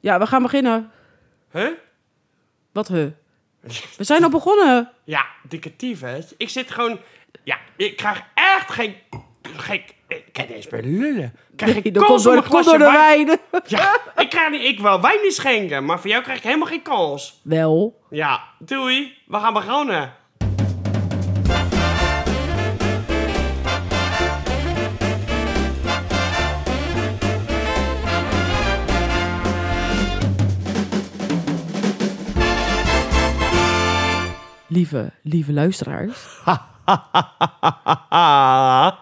Ja, we gaan beginnen. Huh? Wat he? We zijn al begonnen. Ja, dikke tyfus. Ik zit gewoon... Ja, ik krijg echt geen... geen ik kan niet eens meer lullen. Ik krijg geen Dat kans komt om door, dat een komt glasje door de wijn. wijn. Ja, ik, krijg niet, ik wil wijn niet schenken, maar voor jou krijg ik helemaal geen kans. Wel. Ja, doei. We gaan begonnen. Lieve, lieve luisteraars. Ah.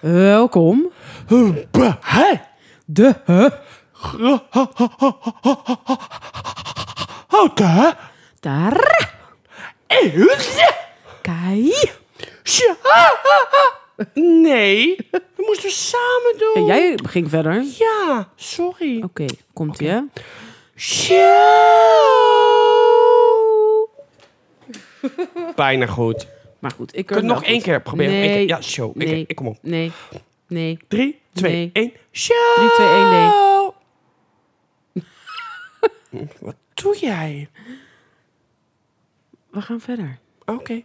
Welkom. Hè? De he. Wat hè? Daar. Kai. Nee, we moesten samen En doen. jij ging verder. Oké, Ja, sorry. komt ie. hè? Bijna goed. Maar goed, ik Kun je het nog één keer proberen? Eén Nee. keer. Ja, show. Eén keer. Nee. Ik kom op. Nee. Nee. 3, 2, Nee. 1, show! 3, 2, 1, nee. Wat doe jij? We gaan verder. Oké.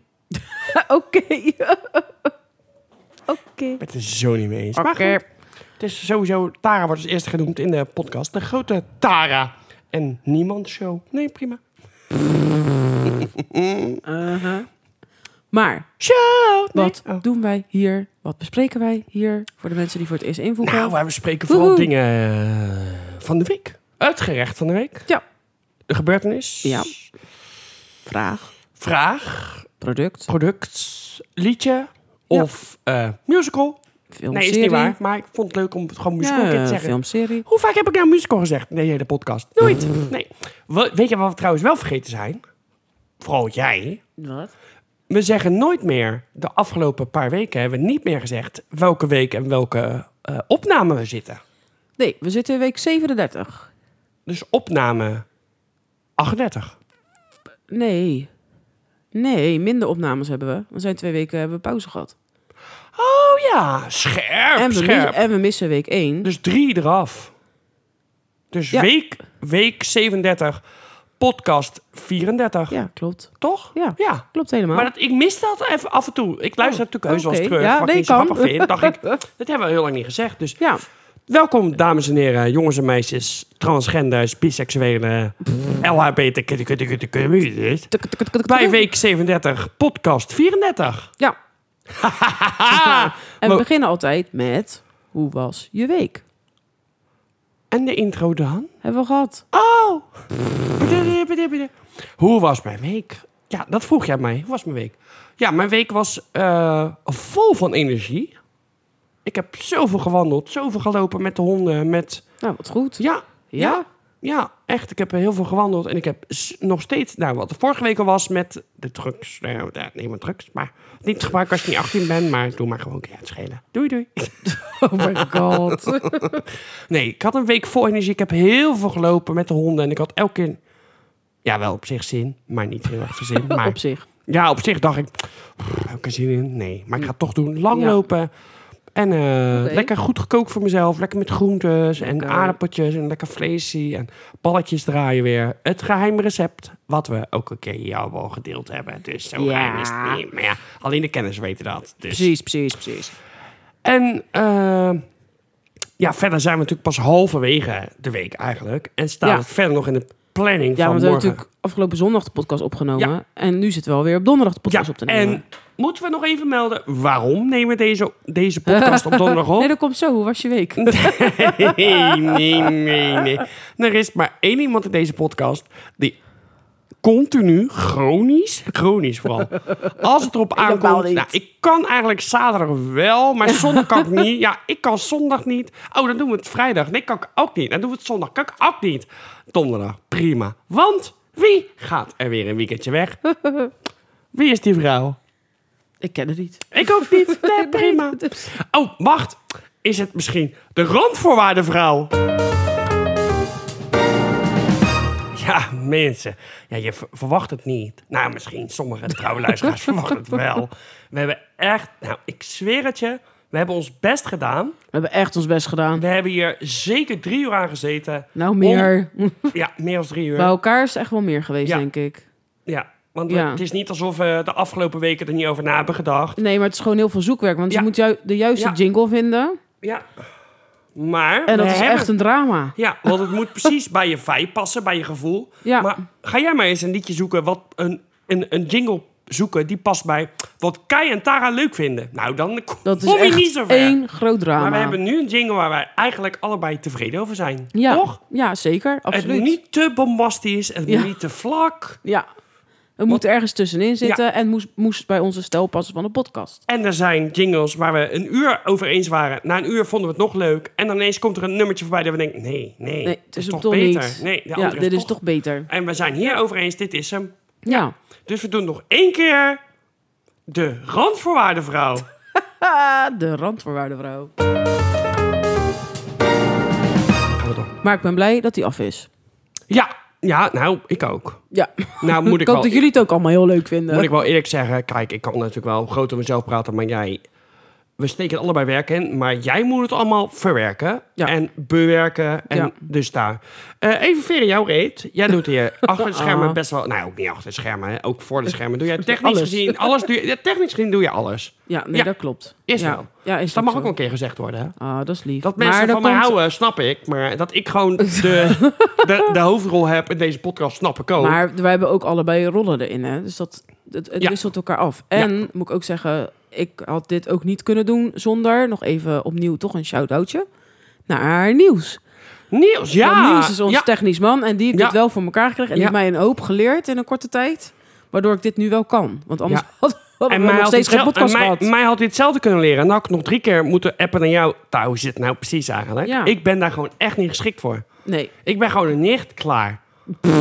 Oké. Oké. Ik ben het er zo niet mee eens. Maar goed, het is sowieso... Tara wordt als eerste genoemd in de podcast. De grote Tara. En niemand show. Nee, prima. Maar Show! Nee. Wat Oh. doen wij hier? Wat bespreken wij hier? Voor de mensen die voor het eerst invoegen. Nou, wij bespreken vooral Woehoe. dingen eh, van de week. Het gerecht van de week. Ja. De gebeurtenis. Ja. Vraag, Vraag. product, Product. Liedje. Of eh, musical. film, nee, is serie. niet waar. Maar ik vond het leuk om het gewoon musical een keer Ja, te zeggen. film, serie. Hoe vaak heb ik nou musical gezegd? Nee, de hele podcast. Nooit. Nee. Wel- Weet je wat we trouwens wel vergeten zijn? Vooral jij. Wat? We zeggen nooit meer, de afgelopen paar weken hebben we niet meer gezegd welke week en welke eh, opname we zitten. Nee, we zitten in week 37. Dus opname 38. Nee. Nee, minder opnames hebben we. We zijn twee weken hebben we pauze gehad. Oh ja, scherp, En we, mi- scherp. en we missen week 1. Dus drie eraf. Dus Ja. week, week 37, podcast 34, Ja, klopt. toch? Ja, klopt helemaal. Oh, Maar dat, ik mis dat even af en toe. Ik luister natuurlijk heus wel eens oké. terug. Ja, wat nee, ik niet zo kan. grappig vind. dacht ik, dat hebben we heel lang niet gezegd. Dus Ja, welkom, dames en heren, jongens en meisjes, transgenders, biseksuelen, LHBT. Tuk, tuk, tuk, tuk, tuk. Bij week 37, podcast 34. Ja. Ah, En we Mo- beginnen altijd met... Hoe was je week? en de intro dan? Hebben we gehad. Oh! Hoe was mijn week? Ja, dat vroeg jij mij. Hoe was mijn week? Ja, mijn week was eh, vol van energie. Ik heb zoveel gewandeld, zoveel gelopen met de honden, met... Nou, wat goed. Ja, Ja? ja, ja, echt. Ik heb heel veel gewandeld en ik heb s- nog steeds... Nou, wat er vorige week al was met de drugs. eh, ja, nee, maar drugs, maar niet te gebruiken als je niet 18 bent. Maar doe maar gewoon, ja, het schelen. Doei, doei. Oh my god. Nee, ik had een week vol energie. Ik heb heel veel gelopen met de honden. En ik had elke keer... Ja, wel op zich zin. Maar niet heel erg veel zin. Maar Op zich. ja, op zich dacht ik... "Pff, Heb ik er zin in? Nee. Maar ik ga het toch doen. Lang Ja. lopen. En eh, Oké. lekker goed gekookt voor mezelf. Lekker met groentes en Lekker. aardappeltjes en lekker vleesie. En balletjes draaien weer. Het geheime recept. Wat we ook een keer jou al gedeeld hebben. Dus zo Ja. geheim is het niet. Maar ja, alleen de kenners weten dat. Dus Precies, precies, precies. en eh, ja, verder zijn we natuurlijk pas halverwege de week eigenlijk. En staan Ja. we verder nog in de planning Ja, van want we hebben morgen. natuurlijk afgelopen zondag de podcast opgenomen. Ja. En nu zitten we alweer op donderdag de podcast ja, op te nemen. en moeten we nog even melden waarom nemen we deze, deze podcast op donderdag op? Nee, dat komt zo. Hoe was je week? nee, nee, nee, nee. Er is maar één iemand in deze podcast die continu, chronisch, chronisch vooral, als het erop Helemaal aankomt. niet. Nou, ik kan eigenlijk zaterdag wel, maar zondag kan ik niet. Ja, ik kan zondag niet. Oh, dan doen we het vrijdag. Nee, kan ik ook niet. Dan doen we het zondag. Kan ik ook niet. Donderdag, prima. Want wie gaat er weer een weekendje weg? Wie is die vrouw? Ik ken het niet. Ik ook niet. Nee, prima. Dus- Oh, wacht. Is het misschien de randvoorwaardenvrouw? Ja, mensen. Ja, je v- verwacht het niet. Nou, misschien sommige trouwe luisteraars verwachten het wel. We hebben echt... Nou, ik zweer het je. We hebben ons best gedaan. We hebben echt ons best gedaan. We hebben hier zeker drie uur aan gezeten. Nou, meer. Ja, meer dan drie uur. Bij elkaar is het echt wel meer geweest, Ja. denk ik. Ja, want we- Ja. het is niet alsof we de afgelopen weken er niet over na hebben gedacht. Nee, maar het is gewoon heel veel zoekwerk. Want Ja. je moet ju- de juiste Ja. jingle vinden. Ja. Maar En dat we is hebben... echt een drama. Ja, want het moet precies bij je vibe passen, bij je gevoel. Ja. Maar ga jij maar eens een liedje zoeken, wat een, een, een jingle zoeken die past bij wat Kai en Tara leuk vinden. Nou, dan kom Dat is je echt niet zo ver. één groot drama. Maar we hebben nu een jingle waar wij eigenlijk allebei tevreden over zijn. ja. Toch? Ja, zeker. Het Absoluut. moet niet te bombastisch, het moet Ja. niet te vlak. Ja. We moeten ergens tussenin zitten en moest, moest bij onze stijl passen van de podcast. En er zijn jingles waar we een uur over eens waren. Na een uur vonden we het nog leuk. En dan ineens komt er een nummertje voorbij dat we denken... Nee, nee, Nee, dat het is hem toch toch beter. niet. Nee, de Ja, andere dit oh, is is toch beter. En we zijn hier over eens, dit is hem. Ja. Dus we doen nog één keer de randvoorwaardenvrouw. Ah, de randvoorwaardenvrouw. Maar ik ben blij dat die af is. Ja, ja, nou, ik ook. Ja. Nou, moet ik ik, hoop wel, dat jullie het ook allemaal heel leuk vinden. moet ik wel eerlijk zeggen. Kijk, ik kan natuurlijk wel groot over mezelf praten, maar jij... We steken het allebei werk in, maar jij moet het allemaal verwerken Ja. en bewerken. En Ja. dus daar. Eh, even veren jouw reet. Jij doet hier achter de schermen Ah. best wel... Nou, ook niet achter de schermen, hè, ook voor de schermen. Doe jij technisch Alles. gezien alles. Doe je, ja, technisch gezien doe je alles. Ja, nee, Ja. dat klopt. Is ja. wel. Ja, is Dus dat mag zo. ook wel een keer gezegd worden, hè? Ah, dat is lief. Dat mensen Maar van dan mij komt- houden, snap ik. Maar dat ik gewoon de, de, de hoofdrol heb in deze podcast, snap ik ook. Maar wij hebben ook allebei rollen erin, hè? Dus dat, dat, het Ja. wisselt elkaar af. En moet ik ook zeggen, ik had dit ook niet kunnen doen zonder nog even opnieuw toch een shout-outje naar Nieuws. Niels, ja. Want Niels is ons ja. technisch man en die heeft Ja. dit wel voor elkaar gekregen. En die Ja. heeft mij een hoop geleerd in een korte tijd, waardoor ik dit nu wel kan. Want anders Ja. had, hadden En we mij nog had, steeds geen hetzelfde, en podcast mij, gehad. mij had dit hetzelfde kunnen leren. En dan had ik nog drie keer moeten appen naar jou. Nou, hoe zit het nou precies eigenlijk? Ja. Ik ben daar gewoon echt niet geschikt voor. Nee. Ik ben gewoon een nicht, klaar.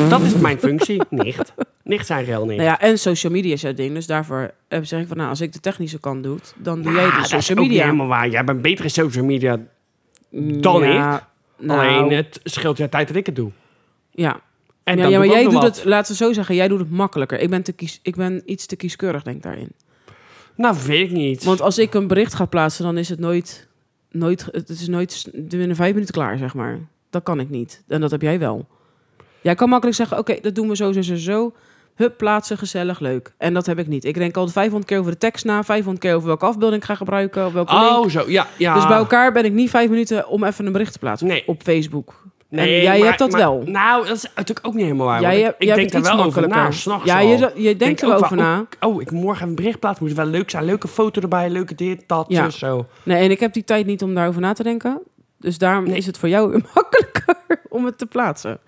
Dat is mijn functie, nicht. Nicht zijn real niet. Nou ja, en social media is jouw ding. Dus daarvoor eh, zeg ik van, nou, als ik de technische kant doe, dan doe jij de Nou, dat is social ook niet media. helemaal waar. Jij bent beter in social media. dan nou, Alleen het scheelt je tijd dat ik het doe. Ja, En ja, dan ja, maar doe ik jij ook nog doet wat. het, laten we zo zeggen, jij doet het makkelijker. Ik ben, te kies, ik ben iets te kieskeurig, denk ik daarin. Nou, weet ik niet. Want als ik een bericht ga plaatsen, dan is het nooit, nooit het is nooit s- binnen vijf minuten klaar, zeg maar. Dat kan ik niet. En dat heb jij wel. Jij kan makkelijk zeggen, oké, dat doen we zo, zo, zo, zo. Hup, plaatsen, gezellig, leuk. En dat heb ik niet. Ik denk al 500 keer over de tekst na, 500 keer over welke afbeelding ik ga gebruiken, op welke link. oh, zo. Ja, ja. Dus bij elkaar ben ik niet vijf minuten om even een bericht te plaatsen Nee. op Facebook. en jij hebt dat wel. Nou, dat is natuurlijk ook niet helemaal waar. Jij, want hebt- ik jij denk hebt daar het iets wel over makkelijker. na, s'nachts ja, al. je, je denkt Denk er wel ook over na. Oh, oh, ik morgen even een bericht plaatsen. Moet het wel leuk zijn. Leuke foto erbij. Leuke dit, dat, Ja. zus, zo. Nee, en ik heb die tijd niet om daarover na te denken. Dus daarom Nee. is het voor jou makkelijker om het te plaatsen.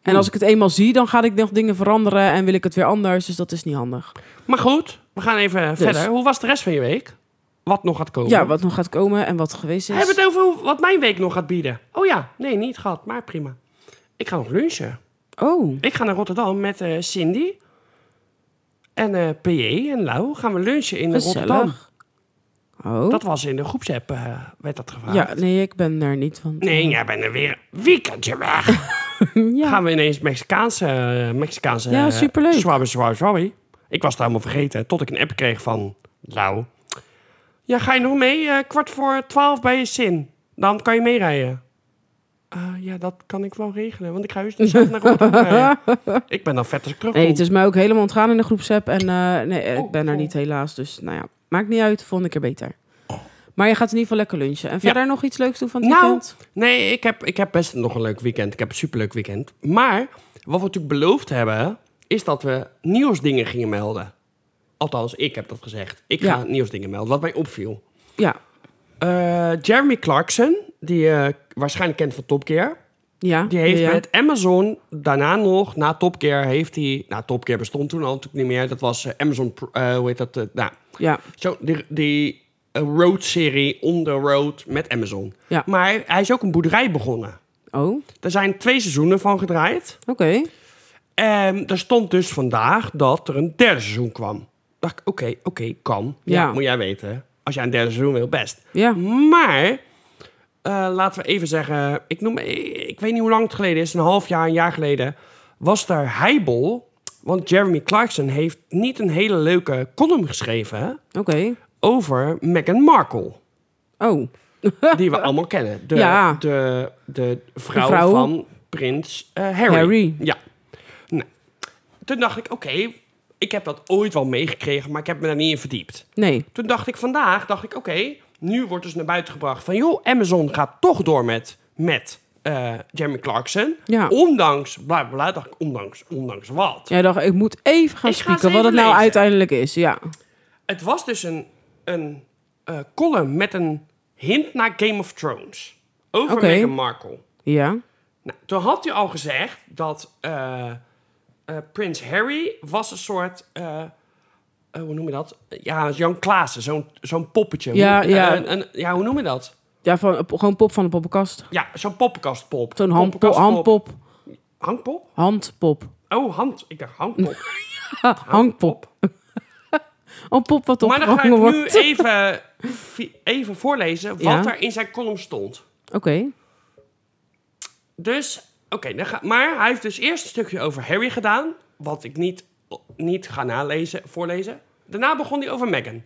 En als ik het eenmaal zie, dan ga ik nog dingen veranderen en wil ik het weer anders. Dus dat is niet handig. Maar goed, we gaan even verder. Hoe was de rest van je week? Wat nog gaat komen? Dus. Ja, wat nog gaat komen en wat geweest We hebben is. het over hoe- wat mijn week nog gaat bieden. Oh ja, nee, niet gehad. Maar prima. Ik ga nog lunchen. Oh, Ik ga naar Rotterdam met eh, Cindy. En eh PJ en Lau gaan we lunchen in Rotterdam. gezellig. Oh, Dat was in de groepsapp, eh, werd dat gevraagd. ja, nee, ik ben daar niet van. Nee, jij bent er weer een weekendje weg. ja. Gaan we ineens Mexicaanse... eh, Mexicaanse Ja, eh, superleuk. Swabbe, swabbe, swabbe. Ik was het helemaal vergeten, tot ik een app kreeg van Lau. Ja, ga je nog mee? Eh, kwart voor twaalf bij je zin. Dan kan je meerijden. Ah, ja, dat kan ik wel regelen, want ik ga heus niet zelf naar Rotterdam rijden. Ik ben dan vet als ik terugkom. Nee, het is mij ook helemaal ontgaan in de groepsapp. En eh, nee, eh, ik ben er oh. niet helaas. Dus nou ja, maakt niet uit. Volgende keer beter. Maar je gaat in ieder geval lekker lunchen. En verder nog iets leuks doen van het Nou, weekend? Nee, ik heb, ik heb best nog een leuk weekend. Ik heb een superleuk weekend. Maar wat we natuurlijk beloofd hebben, is dat we nieuwsdingen gingen melden. Althans, ik heb dat gezegd. Ik Ja. ga nieuwsdingen melden, wat mij opviel. Ja. Eh, Jeremy Clarkson, die je waarschijnlijk kent van Top Gear... Ja, die heeft ja, ja. met Amazon daarna nog, na Top Gear, heeft hij... Nou, Top Gear bestond toen al natuurlijk niet meer. Dat was eh, Amazon, Pro- eh, hoe heet dat? eh, nou, Ja, zo, die, die eh, road-serie, On The Road, met Amazon. Ja. Maar hij is ook een boerderij begonnen. oh, oké. Er zijn twee seizoenen van gedraaid. En er stond dus vandaag dat er een derde seizoen kwam. Dacht ik, oké, oké, kan. Ja. Ja. Moet jij weten. Als jij een derde seizoen wil, best. Ja, Maar, eh, laten we even zeggen... Ik, noem, ik, ik weet niet hoe lang het geleden is. Een half jaar, een jaar geleden. Was daar heibel. Want Jeremy Clarkson heeft niet een hele leuke column geschreven. oké. over Meghan Markle. Oh, Die we allemaal kennen. De, Ja. de, de, vrouw De vrouw. van prins eh, Harry. Harry. Ja. Nou, toen dacht ik, oké, ik heb dat ooit wel meegekregen, maar ik heb me daar niet in verdiept. nee. Toen dacht ik vandaag, dacht ik, oké, nu wordt dus naar buiten gebracht van... joh, Amazon gaat toch door met, met eh, Jeremy Clarkson. Ja. Ondanks, bla bla, bla, dacht ik, ondanks, ondanks wat. Jij dacht, ik moet even gaan Ik ga spieken eens wat het even nou lezen. uiteindelijk is. Ja. Het was dus een, een eh, column met een hint naar Game of Thrones. Over Oké. Meghan Markle. Ja. Nou, toen had hij al gezegd dat eh, eh, Prins Harry was een soort... eh, eh, hoe noem je dat? Ja, Jan Klaassen, zo'n zo'n poppetje. Ja, hoe, eh, ja. een- een- ja, hoe noem je dat? Ja, van, gewoon pop van de poppenkast. Ja, zo'n poppenkastpop. Zo'n handpop, Poppenkastpop. handpop, Hangpop? handpop, Oh, hand. Ik dacht hangpop. hangpop. Een pop wat maar dan ga ik opgehangen nu wordt. even, vi- even voorlezen wat Ja. er in zijn column stond. Oké, Dus, oké. dan ga- maar hij heeft dus eerst een stukje over Harry gedaan. Wat ik niet, niet ga nalezen, voorlezen. Daarna begon hij over Meghan.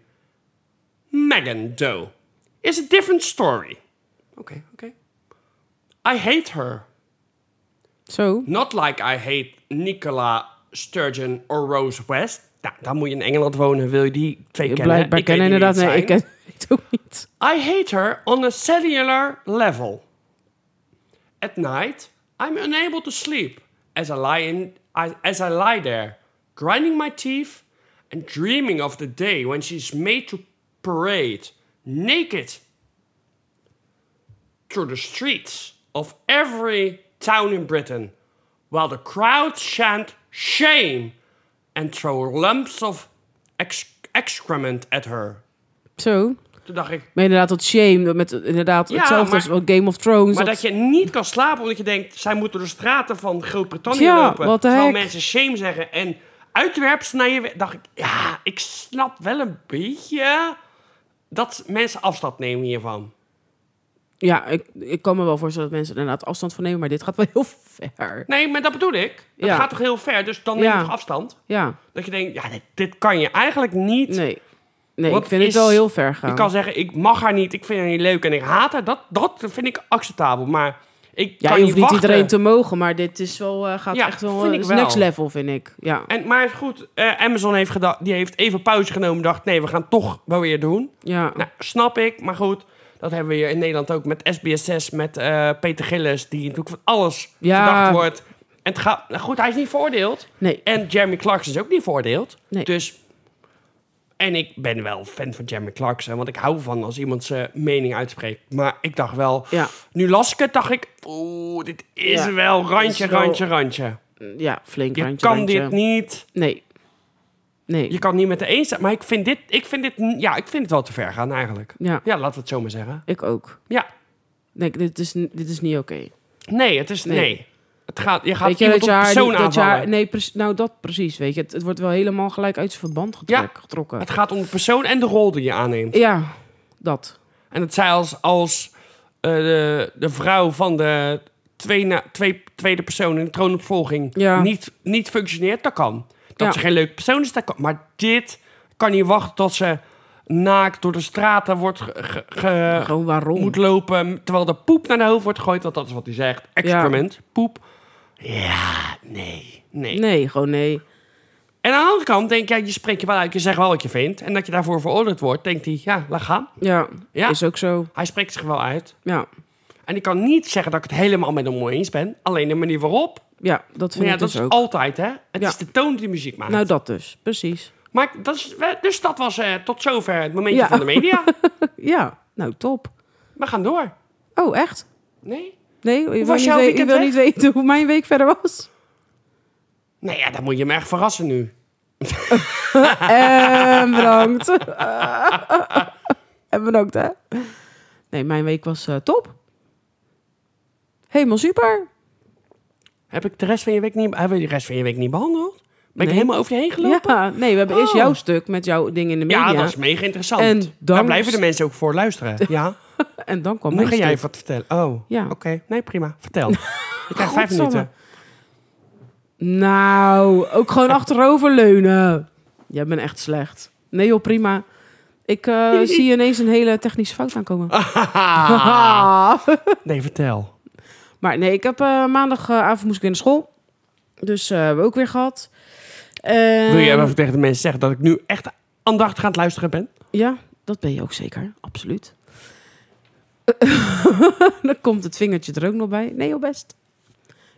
Meghan, though, is a different story. Oké, oké. I hate her. zo. Not like I hate Nicola Sturgeon or Rose West. Nou, dan moet je in Engeland wonen, wil je die twee kennen. Blijkbaar Ik weet kennen niet wie inderdaad. Nee, ik het ken het ook niet. zijn. I hate her on a cellular level. At night, I'm unable to sleep as I lie, in, I- as I lie there, grinding my teeth and dreaming of the day when she's made to parade naked through the streets of every town in Britain, while the crowds chant shame and throw lumps of ex- excrement at her. Zo. Toen dacht ik, Maar inderdaad, dat shame, met inderdaad Ja, hetzelfde maar- als wat Game of Thrones. Maar dat- dat je niet kan slapen omdat je denkt, zij moeten door de straten van Groot-Brittannië Ja, lopen. what the terwijl heck? mensen shame zeggen en uitwerpsel naar je... we- Dacht ik, ja, ik snap wel een beetje dat mensen afstand nemen hiervan. Ja, ik, ik kan me wel voorstellen dat mensen er inderdaad afstand van nemen, maar dit gaat wel heel ver. Nee, maar dat bedoel ik. Het Ja. gaat toch heel ver, dus dan neem je Ja. toch afstand? Ja, Dat je denkt, ja, dit, dit kan je eigenlijk niet. nee. Nee, Wat ik vind is- het wel heel ver gaan. Je kan zeggen, ik mag haar niet, ik vind haar niet leuk en ik haat haar. Dat, dat vind ik acceptabel, maar ik ja, kan je hoeft niet wachten. iedereen te mogen, maar dit is wel, eh, gaat Ja, echt wel, vind eh, ik is wel. next level, vind ik. Ja, En, maar goed, eh, Amazon heeft, geda- die heeft even pauze genomen. Dacht, nee, we gaan toch wel weer doen. ja. Nou, snap ik. Maar goed, dat hebben we hier in Nederland ook met SBS6, met eh, Peter Gillis. Die natuurlijk van alles Ja. verdacht wordt. En het gaat, nou goed, hij is niet veroordeeld. nee, En Jeremy Clarkson is ook niet veroordeeld. Nee. Dus, en ik ben wel fan van Jeremy Clarkson. Want ik hou van als iemand zijn mening uitspreekt. Maar ik dacht wel... ja, Nu las ik het, dacht ik... Oeh, dit is Ja, wel dit randje, is wel- randje, randje. ja, flink Je randje, kan randje. dit niet... Nee. Nee. Je kan het niet met de eens zijn. Maar ik vind dit, ik vind dit, ja, ik vind het wel te ver gaan eigenlijk. Ja, Ja, laten we het zo maar zeggen. ik ook. Ja. Nee, dit is, dit is niet oké. Nee, het is, nee. Nee. Het gaat, je gaat Weet je, iemand dat je op haar persoon niet- dat je aanvallen. haar, Nee, precies- nou dat precies, weet je. Het, het wordt wel helemaal gelijk uit zijn verband getrek- getrokken. Het gaat om de persoon en de rol die je aanneemt. Ja, dat. En dat zij als, als eh, de, de vrouw van de tweede, twee, tweede persoon in de troonopvolging Ja. niet, niet functioneert, dat kan. Dat Ja. ze geen leuke persoon is, dat kan. Maar dit kan niet wachten tot ze naakt door de straten wordt ge, ge- ge- Gewoon waarom? moet lopen terwijl de poep naar de hoofd wordt gegooid. Want dat is wat hij zegt. Excrement, poep. Ja, nee, nee. Nee, gewoon nee. En aan de andere kant denk ik, ja, je spreekt je wel uit. Je zegt wel wat je vindt. En dat je daarvoor veroordeeld wordt, denkt hij, ja, laat gaan. Ja, Ja. is ook zo. Hij spreekt zich wel uit. Ja, En ik kan niet zeggen dat ik het helemaal met hem mooi eens ben. Alleen de manier waarop. ja dat vind Maar ja, ik dat dus is ook. altijd, hè. Het Ja. is de toon die muziek maakt. Nou, dat dus. Precies. maar ik- dat is, wel- dus dat was eh, tot zover het momentje Ja. van de media. Ja, nou top. We gaan door. Oh, echt? Nee? Nee, je wil, was niet, jouw we- je weekend wil weg? niet weten hoe mijn week verder was. Nee, Nou ja, dan moet je me echt verrassen nu. En Ehm, bedankt. en bedankt, hè. Nee, mijn week was eh, top. Helemaal super. Heb ik de rest van je week niet, hebben we de rest van je week niet behandeld? Ben ik Nee. helemaal over je heen gelopen? Ja, nee, we hebben eerst Oh. jouw stuk met jouw ding in de media. Ja, dat is mega interessant. En Daar dan- blijven de mensen ook voor luisteren. Ja, En dan kwam nu mijn ga jij stuk. even wat vertellen. Oh, Ja. oké. Nee, prima. Vertel. Je krijgt vijf Godsamme. minuten. Nou, ook gewoon achteroverleunen. Jij bent echt slecht. Nee joh, prima. Ik eh, zie ineens een hele technische fout aankomen. Ah. Ah. nee, vertel. maar nee, ik heb eh, maandagavond moest ik weer naar school. Dus eh, hebben we ook weer gehad. Eh, Wil jij even tegen de mensen zeggen dat ik nu echt aandachtig aan het luisteren ben? Ja, dat ben je ook zeker. Absoluut. Dan komt het vingertje er ook nog bij. Nee, joh, best.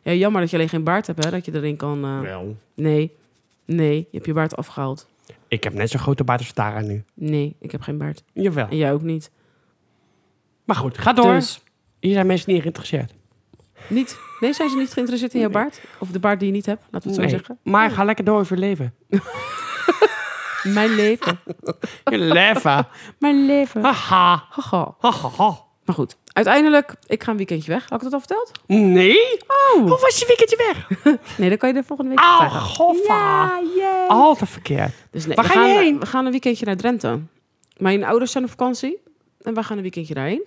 Ja, jammer dat je alleen geen baard hebt, hè. Dat je erin kan... eh, Wel. Nee. Nee, je hebt je baard afgehaald. Ik heb net zo'n grote baard als Tara nu. Nee, ik heb geen baard. Jawel. En jij ook niet. Maar goed, ga door. Dus, Hier zijn mensen niet in geïnteresseerd. niet. Nee, zijn ze niet geïnteresseerd in jouw baard? Of de baard die je niet hebt, laten we het zo Nee. zeggen. Oh. Maar ga lekker door over je leven. Mijn leven. Je leven. Mijn leven. Haha. Haha. Haha. Maar goed, uiteindelijk, ik ga een weekendje weg. Had ik dat al verteld? Nee? Hoe Oh. was je weekendje weg? Nee, dan kan je er volgende week Ah, vragen. goffa. Ja, yay. Al te verkeerd. Dus nee, Waar we ga je gaan, heen? We gaan een weekendje naar Drenthe. Mijn ouders zijn op vakantie. En wij gaan een weekendje daarheen.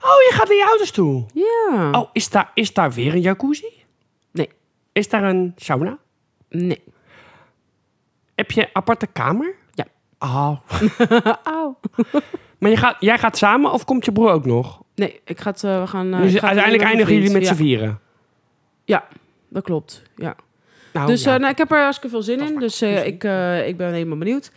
Oh, je gaat naar je ouders toe. Ja. Oh, is daar, is daar weer een jacuzzi? Nee. Is daar een sauna? Nee. Heb je een aparte kamer? Ja. Oh. Au. Maar je gaat, jij gaat samen of komt je broer ook nog? Nee, ik ga het... eh, we gaan, eh, dus ik ga het uiteindelijk alleen eindigen jullie met vriend. z'n vieren. Ja. ja, dat klopt. Ja. Nou, Dus ja. eh, nou, ik heb er hartstikke veel zin Dat in. maakt Dus geen eh, zin. ik, eh, ik ben helemaal benieuwd.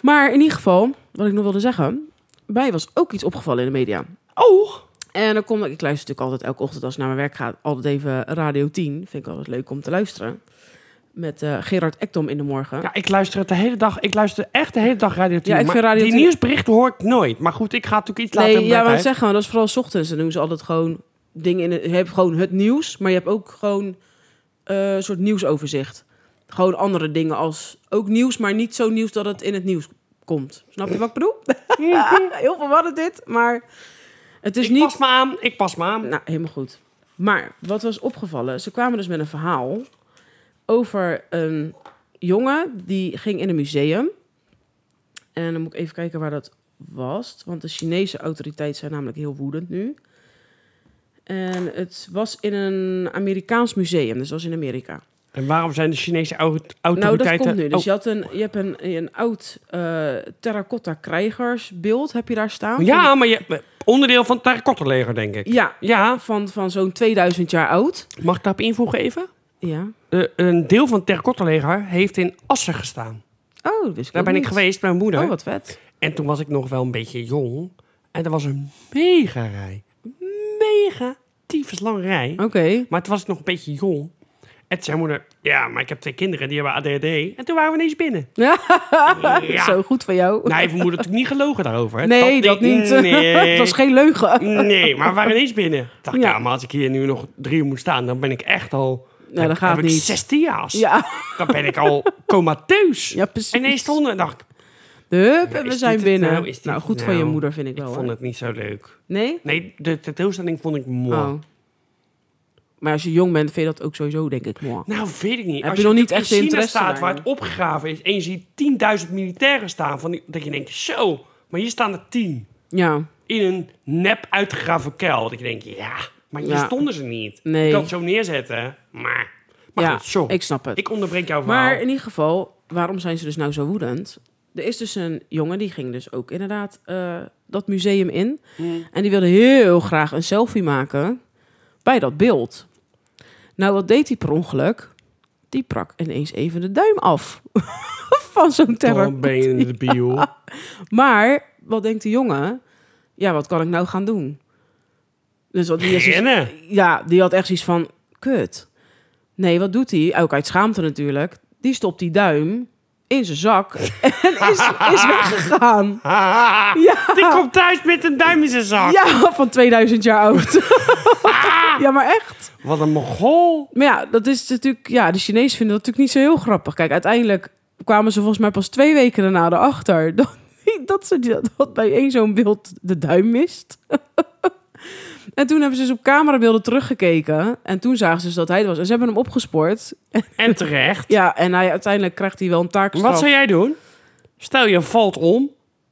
Maar in ieder geval, wat ik nog wilde zeggen. Mij was ook iets opgevallen in de media. Oh, En dan kom ik, ik luister natuurlijk altijd elke ochtend als ik naar mijn werk ga, altijd even Radio 10. Vind ik altijd leuk om te luisteren. Met eh, Gerard Ekdom in de morgen. ja, ik luister het de hele dag. Ik luister echt de hele dag Radio 10. Ja, ik maar vind Radio die 10 nieuwsberichten hoor ik nooit. Maar goed, ik ga het natuurlijk iets later nee, in ja, bed maar uit. zeggen, want dat is vooral 's ochtends. Dan doen ze altijd gewoon dingen in. Het, je hebt gewoon het nieuws, maar je hebt ook gewoon eh, een soort nieuwsoverzicht. Gewoon andere dingen als ook nieuws, maar niet zo nieuws dat het in het nieuws komt. Snap je wat ik bedoel? Heel verwarrend dit, maar het is Hm. ik niet. pas me aan, ik pas me aan. Nou, helemaal goed. Maar wat was opgevallen? Ze kwamen dus met een verhaal over een jongen die ging in een museum. En dan moet ik even kijken waar dat was. Want de Chinese autoriteiten zijn namelijk heel woedend nu. En het was in een Amerikaans museum, dus dat was in Amerika. En waarom zijn de Chinese au- Nou, dat autoriteiten... komt nu. Dus Oh, je, had een, je hebt een, een oud eh, terracotta krijgersbeeld, heb je daar staan? ja, maar je, onderdeel van het terracottenleger, denk ik. Ja, Ja, van, van zo'n 2000 jaar oud. mag ik daarop invoegen even? Ja. Eh, een deel van het terracottenleger heeft in Assen gestaan. Oh, dat wist ik Daar ook ben ik niet. geweest met mijn moeder. Oh, wat vet. En toen was ik nog wel een beetje jong. En er was een mega rij. Mega tyfuslange rij. Oké. Maar toen was ik nog een beetje jong. En toen zei mijn moeder, ja, maar ik heb twee kinderen, die hebben ADHD. En toen waren we ineens binnen. Ja. Zo goed van jou. Nou, heeft mijn moeder natuurlijk niet gelogen daarover. Hè? nee, dat, denk- niet. Nee. het was geen leugen. nee, maar we waren ineens binnen. Ik dacht, Ja. ja, maar als ik hier nu nog drie uur moet staan, dan ben ik echt al... Nou, dat heb- gaat heb ik niet. 16 jaar. Ja, Dan ben ik al comateus. ja precies. En ineens stonden we en dacht ik, Hup, Ja, en we is zijn dit het binnen. nou? Nou, Is dit het goed van nou? je moeder vind ik ik wel. vond hoor. het niet zo leuk. Nee? Nee, de tentoonstelling vond ik mooi. Oh. Maar als je jong bent, vind je dat ook sowieso, denk ik, mooi. Nou, weet ik niet. Heb Als je nog niet natuurlijk echt in de China interesse staat daarin? waar het opgegraven is en je ziet 10.000 militairen staan, van die, dat je denkt, zo, maar hier staan er 10. Ja, In een nep uitgegraven kuil. Dat je denkt, ja, maar hier Ja. stonden ze niet. Nee. Ik kan het zo neerzetten, maar... Maar ja goed, sorry. ik Ik, snap het. onderbreek jouw verhaal. Maar in ieder geval, waarom zijn ze dus nou zo woedend? Er is dus een jongen, die ging dus ook inderdaad eh, dat museum in. En die wilde heel graag een selfie maken bij dat beeld. Nou, wat deed hij per ongeluk? Die brak ineens even de duim af van zo'n terror. Dan ben je in de bio. Maar wat denkt de jongen? Ja, wat kan ik nou gaan doen? Dus wat die is dus- Rennen. ja, die had echt zoiets van, kut. Nee, wat doet hij? Ook uit schaamte natuurlijk. Die stopt die duim in zijn zak en is, is weggegaan. Ah, Ja. Die komt thuis met een duim in zijn zak. Ja, van 2000 jaar oud. ja, maar echt. Wat een mogol. Maar ja, dat is natuurlijk, ja, de Chinezen vinden dat natuurlijk niet zo heel grappig. Kijk, uiteindelijk kwamen ze volgens mij pas twee weken daarna erachter dat, dat ze die- dat bij één zo'n beeld de duim mist. En toen hebben ze dus op camerabeelden teruggekeken. En toen zagen ze dus dat hij het was. En ze hebben hem opgespoord. En terecht. Ja, en hij, uiteindelijk krijgt hij wel een taakstraf. Wat zou jij doen? Stel je valt om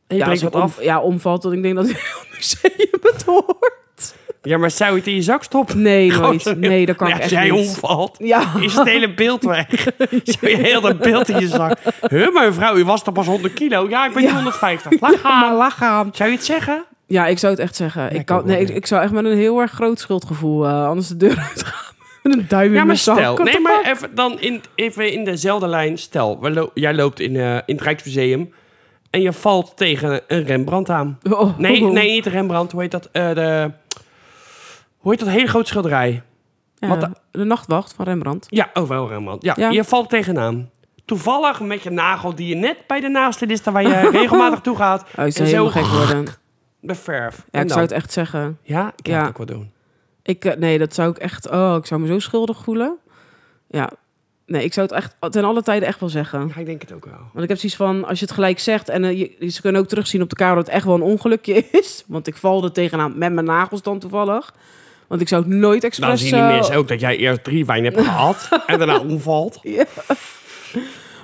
en je ja, breekt als wat ik om- af. Ja, omvalt, want ik denk dat hij heel museum het hoort. Ja, maar zou je het in je zak stoppen? Nee, Gewoon nooit. zo- Nee, dat kan Oh, Ja, ik Als echt jij niet. omvalt, Ja. is het hele beeld weg. Zou je heel dat beeld in je zak. Huh, maar mevrouw, u was toch pas 100 kilo? Ja, ik ben nu 150. Lach aan. Lachaam. Zou je het zeggen? Ja, ik zou het echt zeggen. Ja, ik, ik ook kan, wel, nee, ik, ja. ik zou echt met een heel erg groot schuldgevoel eh, anders de deur uitgaan. Met een duim Ja, in maar mijn zak. stel. What Nee, the maar fuck? even, dan in, even in dezelfde lijn. Stel, we lo- jij loopt in, eh, in het Rijksmuseum en je valt tegen een Rembrandt aan. Oh. Nee, nee niet de Rembrandt. Hoe heet dat? Eh, de, hoe heet dat hele grote schilderij? Ja, wat de... nachtwacht van Rembrandt. Ja, oh wel Rembrandt. Ja, Ja. je valt tegenaan. Toevallig met je nagel die je net bij de naasteliste waar je regelmatig toe gaat. Oh, ik en zou zo helemaal gek worden. de verf. Ja, En ik zou dan? het echt zeggen. ja, ik ja. Ja. ook wel doen. Ik, eh, nee, dat zou ik echt... Oh, ik zou me zo schuldig voelen. Ja. Nee, ik zou het echt ten alle tijden echt wel zeggen. Ja, ik denk het ook wel. Want ik heb zoiets van, als je het gelijk zegt... en eh, je- ze kunnen ook terugzien op de camera dat het echt wel een ongelukje is. Want ik val er tegenaan met mijn nagels dan toevallig. Want ik zou het nooit expres... Dan zien die eh, mensen ook dat jij eerst drie wijn hebt gehad en daarna omvalt.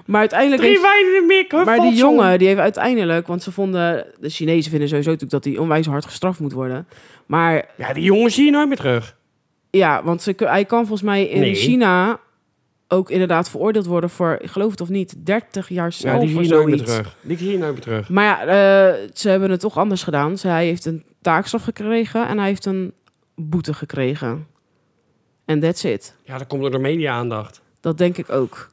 Maar uiteindelijk Drie heeft, wijnen meer, ik maar die jongen die heeft uiteindelijk, want ze vonden de Chinezen vinden sowieso natuurlijk dat hij onwijs hard gestraft moet worden. Maar Ja, die jongen zie je nooit meer terug. ja, want ze, hij kan volgens mij in Nee. China ook inderdaad veroordeeld worden voor, ik geloof het of niet, 30 jaar Ja, cel die zie voor je nooit meer zoiets. terug. Die zie je nooit meer terug. Maar ja, eh, ze hebben het toch anders gedaan. Ze, hij heeft een taakstraf gekregen en hij heeft een boete gekregen. En that's it. Ja, dat komt door de media-aandacht. Dat denk ik ook.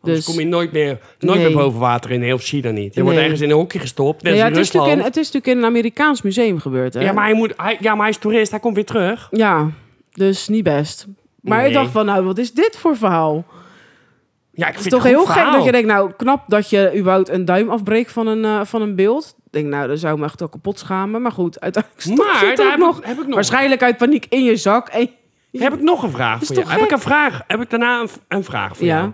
Anders Dus kom je nooit meer, nooit Nee. meer boven water in heel China niet. Je wordt Nee. ergens in een hokje gestopt, net Nee, ja, als het, in is natuurlijk Rusland. in, het is natuurlijk in een Amerikaans museum gebeurd. Hè? Ja, maar hij, moet, hij, ja, maar hij is toerist, hij komt weer terug. Ja, dus niet best. Maar Nee. ik dacht van, nou, wat is dit voor verhaal? Ja, ik Het is vind toch het heel goed gek verhaal. dat je denkt, nou, knap dat je überhaupt een duim afbreekt van een, eh, van een beeld. Ik denk, nou, dan zou ik me echt wel kapot schamen. Maar goed, uiteindelijk stond Maar je het daar ook heb, nog. nog, heb, ik nog, Waarschijnlijk uit paniek in je zak. En, heb ik nog een vraag Is voor jou. toch Heb ik gek? een vraag? Heb ik daarna een, v- een vraag voor Ja. jou?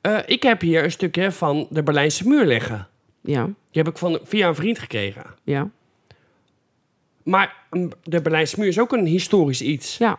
Eh, ik heb hier een stukje van de Berlijnse muur liggen. ja, Die heb ik van, via een vriend gekregen. ja, Maar mm, de Berlijnse muur is ook een historisch iets. ja.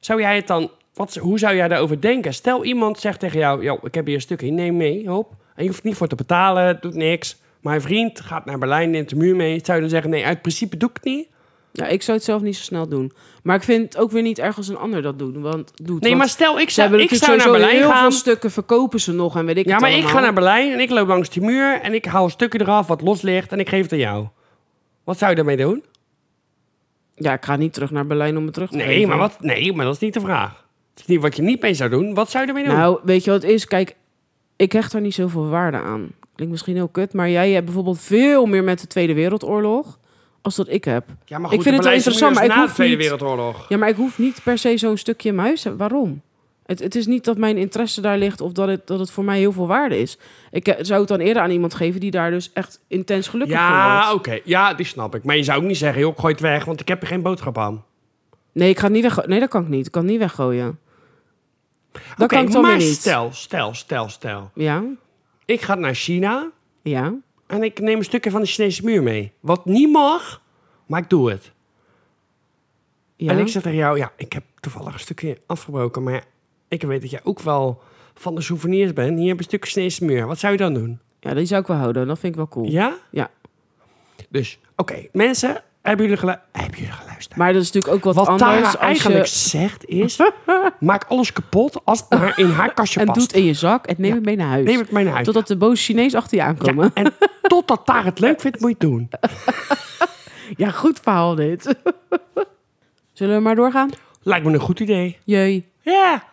Zou jij het dan... Wat, hoe zou jij daarover denken? Stel, iemand zegt tegen jou... "Yo, ik heb hier een stukje, neem mee, hop. En je hoeft niet voor te betalen, het doet niks. Mijn vriend gaat naar Berlijn, neemt de muur mee. Zou je dan zeggen, nee, uit principe doe ik het niet? Ja, ik zou het zelf niet zo snel doen. Maar ik vind het ook weer niet erg als een ander dat doet. Want, doet Nee, want maar stel, ik ze zou, hebben ik natuurlijk zou sowieso naar Berlijn heel gaan. veel stukken verkopen ze nog en weet ik Ja, het maar ik allemaal. ga naar Berlijn en ik loop langs die muur en ik haal een stukje eraf wat los ligt en ik geef het aan jou. Wat zou je daarmee doen? Ja, ik ga niet terug naar Berlijn om het terug te Nee, geven. maar, wat, nee maar dat is niet de vraag. Het is niet wat je niet mee zou doen. Wat zou je daarmee doen? Nou, weet je wat het is? Kijk, ik hecht er niet zoveel waarde aan. Klinkt misschien heel kut, maar jij hebt bijvoorbeeld veel meer met de Tweede Wereldoorlog als dat ik heb. ja, maar ik vind de het wel Berlijnse interessant, muur maar ik is dus na hoef de Tweede niet- Wereldoorlog. Ja, maar ik hoef niet per se zo'n stukje in mijn huis. te- Waarom? Het, het is niet dat mijn interesse daar ligt of dat het, dat het voor mij heel veel waarde is. Ik eh, zou het dan eerder aan iemand geven die daar dus echt intens gelukkig van Ja, wordt. oké. Ja, die snap ik. Maar je zou ook niet zeggen, joh, ik gooi het weg, want ik heb er geen boodschap aan. Nee, ik ga het niet weggo- nee, dat kan ik niet. Ik kan het niet weggooien. Dat Oké, kan ik dan maar weer niet. stel, stel, stel, stel. Ja, Ik ga naar China ja. en ik neem een stukje van de Chinese muur mee. Wat niet mag, maar ik doe het. ja. En ik zeg tegen jou, ja, ik heb toevallig een stukje afgebroken, maar ik weet dat jij ook wel van de souvenirs bent. Hier heb je een stuk Chinese muur. Wat zou je dan doen? ja, die zou ik wel houden. Dat vind ik wel cool. Ja? Ja. Dus, oké, mensen, hebben jullie, gelu- hebben jullie geluisterd? Maar dat is natuurlijk ook wat, Wat anders Tara als eigenlijk je... zegt is, maak alles kapot als het maar in haar kastje En past. doet het in je zak en neem Ja. het mee naar huis. Neem het mee naar huis. Totdat de boze Chinees achter je aankomen. Ja, en totdat Tara het leuk vindt, moet je het doen. Ja, goed verhaal dit. Zullen we maar doorgaan? Lijkt me een goed idee. Jee. Ja.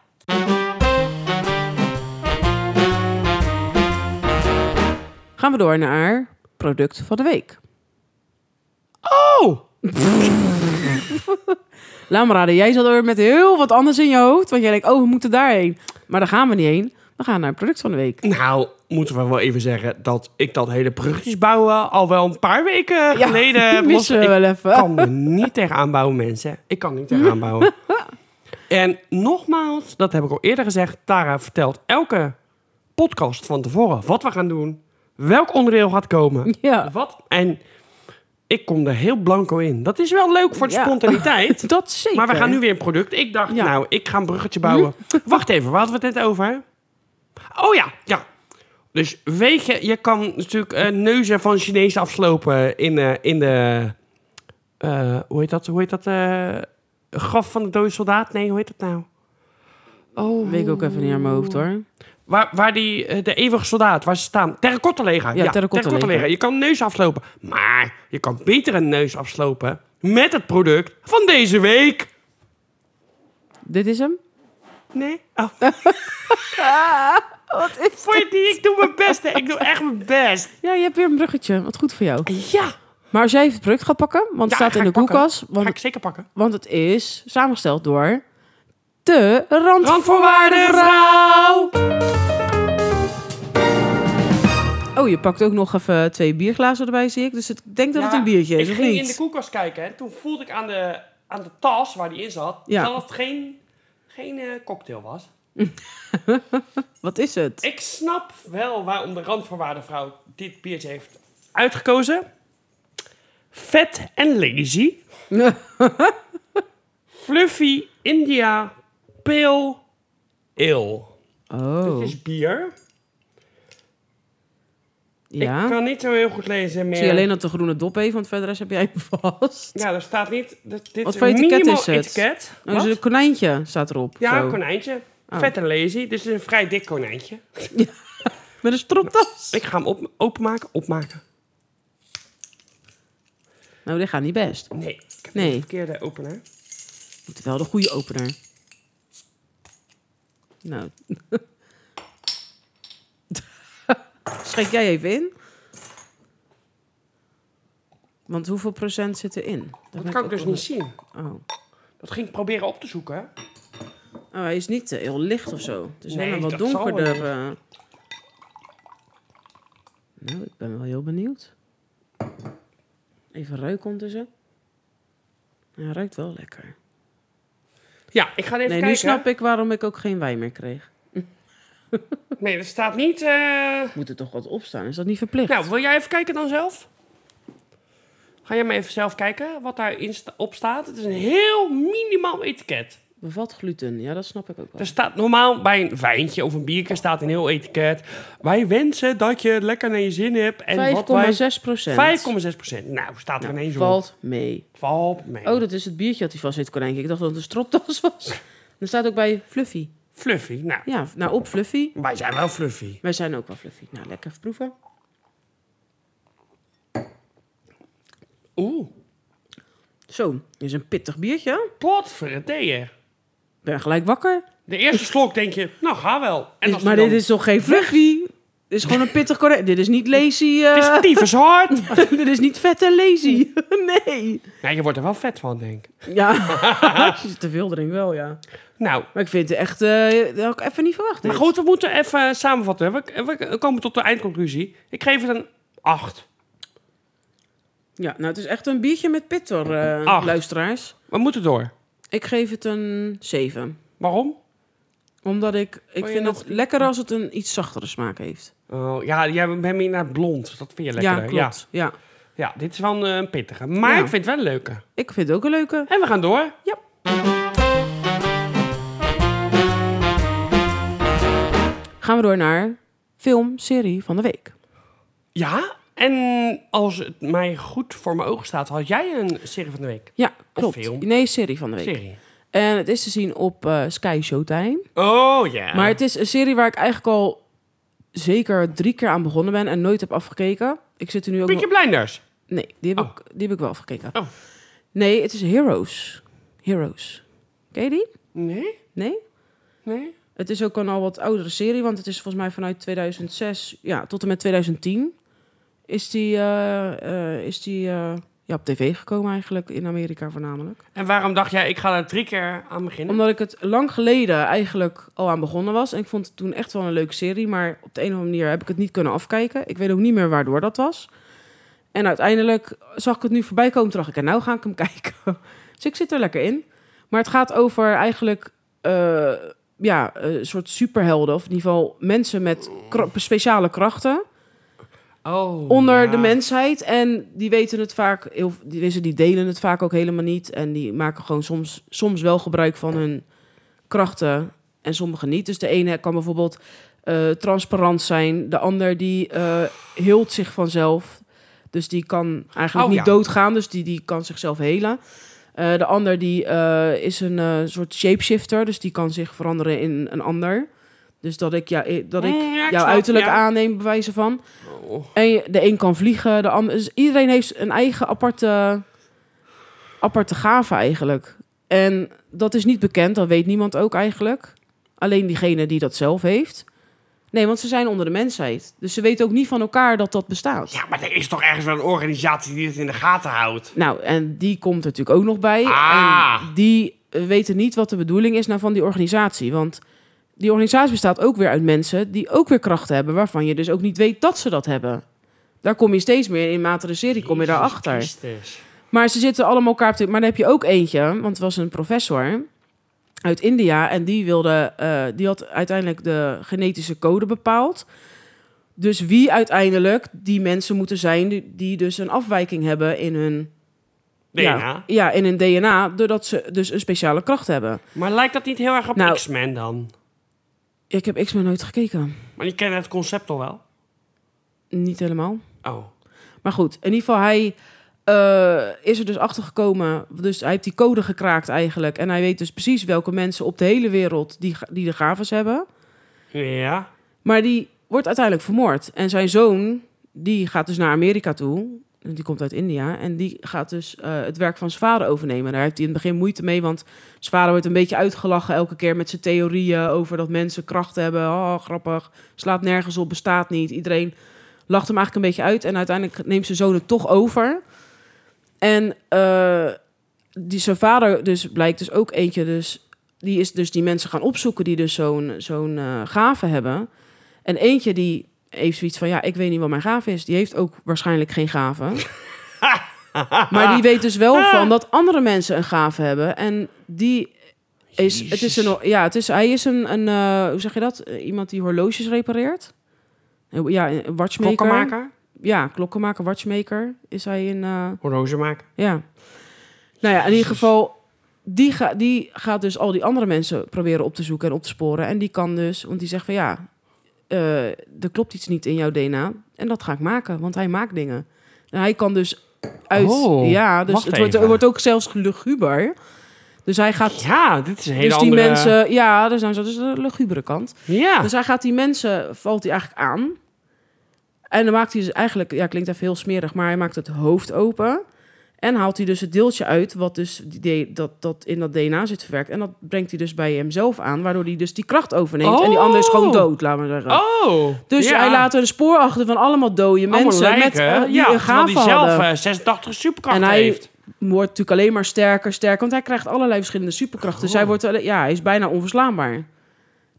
Gaan we door naar product van de week. Oh! Laat me raden, jij zat er met heel wat anders in je hoofd. Want jij denkt, oh, we moeten daarheen. Maar daar gaan we niet heen. We gaan naar product van de week. Nou, moeten we wel even zeggen dat ik dat hele bruggetjes bouwen al wel een paar weken geleden heb los- missen we Ik wel even. kan me niet tegenaan bouwen, mensen. Ik kan niet tegenaan bouwen. en nogmaals, dat heb ik al eerder gezegd. Tara vertelt elke podcast van tevoren wat we gaan doen. Welk onderdeel gaat komen. Ja, Wat. En ik kom er heel blanco in. Dat is wel leuk voor de Ja. spontaniteit. dat zeker. Maar we gaan nu weer een product. Ik dacht, Ja. Hm? nou, ik ga een bruggetje bouwen. Wacht even, waar hadden we het net over? Oh ja, ja. Dus weet je, je kan natuurlijk eh, neuzen van Chinezen afslopen in, eh, in de eh, hoe heet dat? Hoe heet dat? eh, graf van de dode soldaat? Nee, hoe heet dat nou? Oh. Weet ik ook even niet aan mijn hoofd hoor. Waar, waar die, eh, de eeuwige soldaat, waar ze staan. Terracotta leger. Ja, terracotta leger. Je kan een neus afslopen. Maar je kan beter een neus afslopen met het product van deze week. Dit is hem? Nee? Oh. Ah, Voor je die, ik doe mijn best. hè. Ik doe echt mijn best. Ja, je hebt weer een bruggetje. Wat goed voor jou. Ja. Maar als jij even het product gaat pakken, want het Ja, staat ga in de ik pakken. koelkast. Ga Want, ik zeker pakken. want het is samengesteld door de Rand. Randvoorwaardenvrouw. Oh, je pakt ook nog even twee bierglazen erbij, zie ik. Dus ik denk dat het Ja, een biertje is, Ik of ging in de niet? koelkast kijken en toen voelde ik aan de, aan de tas waar die in zat... Ja. dat het geen, geen eh, cocktail was. Wat is het? Ik snap wel waarom de randvoorwaardenvrouw dit biertje heeft uitgekozen. Vet en lazy. Fluffy India Pale Ale. Oh, Dit is bier. Ik ja. kan niet zo heel goed lezen Ik meer. zie alleen dat de groene dop heeft, want verder de rest heb jij hem vast. Ja, er staat niet... Dit, dit Wat voor etiket minimaal is het? etiket. Oh, is Wat? een konijntje staat erop. Ja, zo. een konijntje. Vet en lazy. Dus het is een vrij dik konijntje. Met een stropdas. Ik ga hem op, openmaken. Opmaken. Nou, dit gaat niet best. Nee, ik heb Nee. de verkeerde opener. Moet wel de goede opener. Nou. Schrik jij even in? Want hoeveel procent zit erin? Daar ben Dat kan ik ook dus niet zien. onder- Oh. Dat ging ik proberen op te zoeken. hè. oh, hij is niet eh, heel licht of zo. Het is Nee, helemaal wat dat zal wel donkerder. niet. eh. Nou, ik ben wel heel benieuwd. Even ruiken ondertussen. Hij ruikt wel lekker. Ja, ik ga even Nee, kijken. nu snap ik waarom ik ook geen wijn meer kreeg. Nee, dat staat niet... eh. Moet er toch wat opstaan? Is dat niet verplicht? Nou, wil jij even kijken dan zelf? Ga jij maar even zelf kijken wat daarin sta- op staat. Het is een heel minimaal etiket. Bevat gluten. Ja, dat snap ik ook wel. Er staat normaal bij een wijntje of een biertje staat een heel etiket. Wij wensen dat je het lekker naar je zin hebt. En wat wij... 5,6 procent. 5,6 Nou, staat er ineens op. Valt mee. Valt mee. Oh, dat is het biertje dat hij vast zit, konijntje. Ik dacht dat het een stropdas was. Er staat ook bij Fluffy. Fluffy. Nou, Ja, nou op Fluffy. wij zijn wel fluffy. Wij zijn ook wel Fluffy. Nou, lekker even proeven. Oeh, Zo, dit is een pittig biertje. potverdeer. Ik ben gelijk wakker. De eerste slok denk je, nou ga wel. En als Dit- maar die dit dan- is toch geen Fluffy? Dit is gewoon een pittig konijn. Dit is niet lazy. eh, Het is tyfus hard. dit is niet vet en lazy. nee. Ja, je wordt er wel vet van, denk ik. Ja, als je te veel drinkt wel, ja. Nou, Maar ik vind het echt... eh dat had ik even niet verwacht. maar dit. goed, we moeten even samenvatten. We, we komen tot de eindconclusie. Ik geef het een 8. Ja, nou het is echt een biertje met pitter, eh, Acht. luisteraars. We moeten door. Ik geef het een 7. Waarom? Omdat ik... Ik je vind nog- het lekker als het een iets zachtere smaak heeft. Oh, ja, jij bent meer naar blond. Dat vind je lekker. ja, klopt. Ja. Ja, Ja, dit is wel een, eh, pittige. Maar Ja. ik vind het wel een leuke. Ik vind het ook een leuke. En we gaan door. Ja. Gaan we door naar film, serie van de week. Ja, en als het mij goed voor mijn ogen staat, had jij een serie van de week? Ja, klopt. film. Nee, serie van de week. Serie. En het is te zien op eh, Sky Showtime. Oh ja. Maar het is een serie waar ik eigenlijk al zeker drie keer aan begonnen ben en nooit heb afgekeken. Ik zit er nu ook nog- Pietje Blinders. Nee, die heb, Oh. ik, die heb ik wel afgekeken. Oh. Nee, het is Heroes. Heroes. Ken je die? Nee? Nee? Nee? Het is ook een al wat oudere serie, want het is volgens mij vanuit 2006 ja, tot en met 2010 is die, eh, eh, is die eh, ja, op tv gekomen eigenlijk, in Amerika voornamelijk. En waarom dacht jij, ik ga daar drie keer aan beginnen? Omdat ik het lang geleden eigenlijk al aan begonnen was. En ik vond het toen echt wel een leuke serie. Maar op de een of andere manier heb ik het niet kunnen afkijken. Ik weet ook niet meer waardoor dat was. En uiteindelijk zag ik het nu voorbij komen. Toen dacht ik, en nou ga ik hem kijken. dus ik zit er lekker in. Maar het gaat over eigenlijk eh, ja, een soort superhelden. Of in ieder geval mensen met kra- speciale krachten Oh, onder ja. de mensheid. En die weten het vaak, heel, die, wisten- die delen het vaak ook helemaal niet. En die maken gewoon soms, soms wel gebruik van hun krachten en sommigen niet. Dus de ene kan bijvoorbeeld eh, transparant zijn, de ander die eh hield zich vanzelf. Dus die kan eigenlijk Oh, niet ja. doodgaan. Dus die, die kan zichzelf helen. Eh, de ander die eh, is een eh, soort shapeshifter. Dus die kan zich veranderen in een ander. Dus dat ik, ja, i- dat ik Mm, ja, ik jouw snap, uiterlijk ja. aanneem, bewijzen van. Oh. En je- de een kan vliegen, de ander... Dus iedereen heeft een eigen aparte, aparte gave eigenlijk. En dat is niet bekend, dat weet niemand ook eigenlijk. Alleen diegene die dat zelf heeft. Nee, want ze zijn onder de mensheid. Dus ze weten ook niet van elkaar dat dat bestaat. Ja, maar er is toch ergens wel een organisatie die dit in de gaten houdt? Nou, en die komt er natuurlijk ook nog bij. Ah. En die eh, weten niet wat de bedoeling is nou van die organisatie. Want die organisatie bestaat ook weer uit mensen die ook weer krachten hebben... waarvan je dus ook niet weet dat ze dat hebben. Daar kom je steeds meer in. In mate de serie kom je Jezus daarachter. Christus. Maar ze zitten allemaal elkaar op de... Maar dan heb je ook eentje, want het was een professor uit India... en die, wilde, eh, die had uiteindelijk de genetische code bepaald... Dus wie uiteindelijk die mensen moeten zijn die, die dus een afwijking hebben in hun ja, DNA. ja, in hun DNA, doordat ze dus een speciale kracht hebben. Maar lijkt dat niet heel erg op Nou. X-Men dan? Ik heb X-Men nooit gekeken. Maar je kent het concept al wel. Niet helemaal. Oh. Maar goed, in ieder geval, hij eh, is er dus achtergekomen. Dus hij heeft die code gekraakt eigenlijk. En hij weet dus precies welke mensen op de hele wereld die, ga- die de gaves hebben. Ja. Maar die wordt uiteindelijk vermoord. En zijn zoon, die gaat dus naar Amerika toe. Die komt uit India. En die gaat dus eh, het werk van zijn vader overnemen. Daar heeft hij in het begin moeite mee. Want zijn vader wordt een beetje uitgelachen elke keer met zijn theorieën over dat mensen kracht hebben. Oh, grappig. Slaat nergens op, bestaat niet. Iedereen lacht hem eigenlijk een beetje uit. En uiteindelijk neemt zijn zoon het toch over. En eh, die, zijn vader dus blijkt dus ook eentje dus... Die is dus die mensen gaan opzoeken die dus zo'n zo'n eh, gave hebben. En eentje die heeft zoiets van... Ja, ik weet niet wat mijn gave is. Die heeft ook waarschijnlijk geen gave. maar die weet dus wel van dat andere mensen een gave hebben. En die is... Het is een, ja, het is, hij is een... een eh, hoe zeg je dat? Eh, Iemand die horloges repareert. Eh, Ja, een watchmaker Klokkenmaker? ja, klokkenmaker, watchmaker is hij in. eh, Horlogemaker? ja. Nou ja, in ieder geval, die, ga, die gaat dus al die andere mensen proberen op te zoeken en op te sporen. En die kan dus, want die zegt van ja, eh, er klopt iets niet in jouw DNA. En dat ga ik maken, want hij maakt dingen. En hij kan dus uit. Oh, ja, dus wacht het wordt, even. het wordt ook zelfs luguber. Dus hij gaat. Ja, dit is een hele Dus die andere... Ah. mensen, ja, dus nou, dat is de lugubere kant. Ja. Dus hij gaat die mensen, valt hij eigenlijk aan. En dan maakt hij dus eigenlijk, ja, klinkt even heel smerig, maar hij maakt het hoofd open. En haalt hij dus het deeltje uit, wat dus die, dat, dat in dat DNA zit verwerkt. En dat brengt hij dus bij hemzelf aan, waardoor hij dus die kracht overneemt. En die ander is gewoon Oh. dood, laten we zeggen. Oh. Dus ja. hij laat er een spoor achter van allemaal dode Allemaal mensen met lijken. eh, die ja, een terwijl die gave zelf hadden. eh, 86 superkrachten En hij- heeft. Wordt natuurlijk alleen maar sterker, sterker. Want hij krijgt allerlei verschillende superkrachten. Dus hij, Oh. wordt, alle- ja, hij is bijna onverslaanbaar.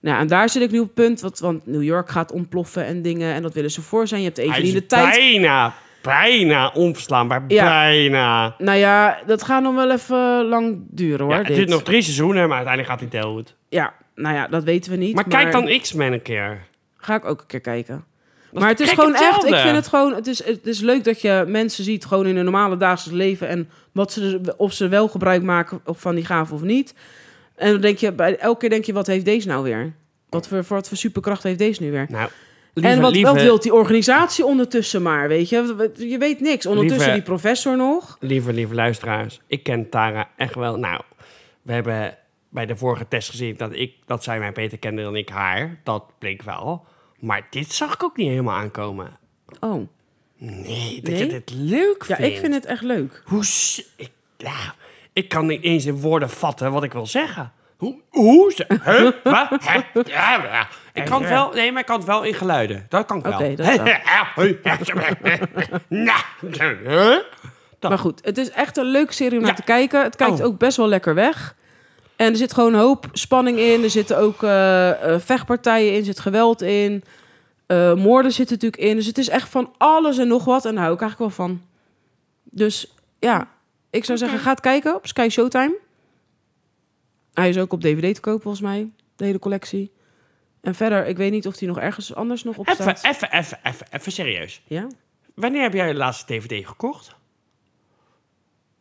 Nou, en daar zit ik nu op het punt. Want, want New York gaat ontploffen en dingen. En dat willen ze voor zijn. Je hebt even Hij niet is de tijd. bijna, bijna onverslaanbaar. Ja. Bijna. Nou ja, dat gaat nog wel even lang duren hoor. Ja, het dit. duurt nog drie seizoenen, maar uiteindelijk gaat hij dood. Ja, nou ja, dat weten we niet. Maar kijk dan X-Men een keer. Ga ik ook een keer kijken. is maar het is gek gewoon echt, hetzelfde. ik vind het gewoon, het is, het is leuk dat je mensen ziet gewoon in hun normale dagelijks leven en wat ze, er- of ze wel gebruik maken of van die gaven of niet. En dan denk je, bij, elke keer denk je, wat heeft deze nou weer? Wat voor, voor, wat voor superkracht heeft deze nu weer? Nou, lieve, en wat, lieve, wat wil die organisatie ondertussen maar, weet je? Je weet niks. Ondertussen Lieve- die professor nog. lieve, lieve luisteraars. Ik ken Tara echt wel. Nou, we hebben bij de vorige test gezien dat, ik, dat zij mij beter kende dan ik haar. Dat bleek wel. Maar dit zag ik ook niet helemaal aankomen. Oh, Nee, dat Nee? je dit leuk ja, vindt. ik vind het echt leuk. Hoe... s- Ik, ja, ik kan niet eens in woorden vatten wat ik wil zeggen. Hoe... hoe ze- hè? Wat? Hè? Ja, ja. Ik kan het wel... Nee, maar ik kan het wel in geluiden. Dat kan ik wel. Oké, dat wel. Nou, hè? Ja. Maar goed, het is echt een leuke serie om naar Ja. te kijken. Het kijkt Oh. ook best wel lekker weg. En er zit gewoon een hoop spanning in. Er zitten ook eh, eh, vechtpartijen in, er zit geweld in. Eh, moorden zitten natuurlijk in. Dus het is echt van alles en nog wat. En daar hou ik eigenlijk wel van. Dus ja, ik zou zeggen, ga het kijken op Sky Showtime. Hij is ook op DVD te koop, volgens mij. De hele collectie. En verder, ik weet niet of die nog ergens anders nog op Even, staat. even, even, even, even serieus. Ja? Wanneer heb jij de laatste DVD gekocht?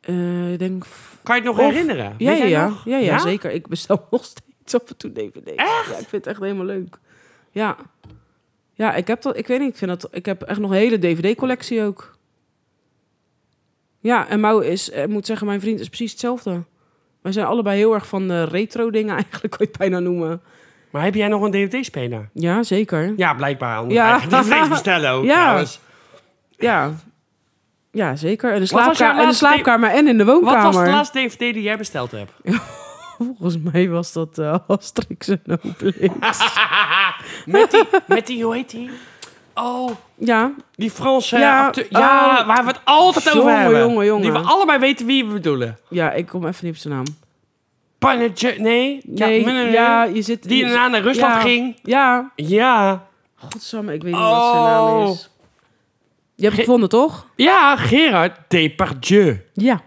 Eh, ik denk Kan je het nog Of- herinneren? Ja, Weet ja, jij ja. nog? ja, ja, zeker. Ik bestel nog steeds af en toe DVD's. Echt? Ja, ik vind het echt helemaal leuk. Ja. Ja, ik heb dat, ik weet niet, ik vind dat, ik heb echt nog een hele DVD-collectie ook. Ja, en Mau is, eh, moet zeggen, mijn vriend is precies hetzelfde. Wij zijn allebei heel erg van eh, retro dingen eigenlijk, kan je het bijna noemen. Maar heb jij nog een DVD-speler? Ja, zeker. Ja, blijkbaar. Anders Ja. ja. DVD's bestellen ook Ja. trouwens. Ja, ja zeker. En de, Wat was jouw slaapka- en de laatste- slaapkamer en in de Wat woonkamer. was de laatste DVD die jij besteld hebt? Volgens mij was dat eh Asterix en Obelix. met, die, met die, hoe heet die? Oh, ja, die Franse Ja, ja, Ja, oh. waar we het altijd Jongen, over hebben. jongen, jongen. Die we allebei weten wie we bedoelen. ja, ik kom even niet op zijn naam. Panetje, nee. Nee, ja, nee, nee. je zit... die je- daarna naar Rusland ja, ging. Ja, Ja. godsamme, ik weet niet wat zijn naam Oh. is. Je hebt Ge- het gevonden, toch? Ja, Gerard Depardieu. Ja.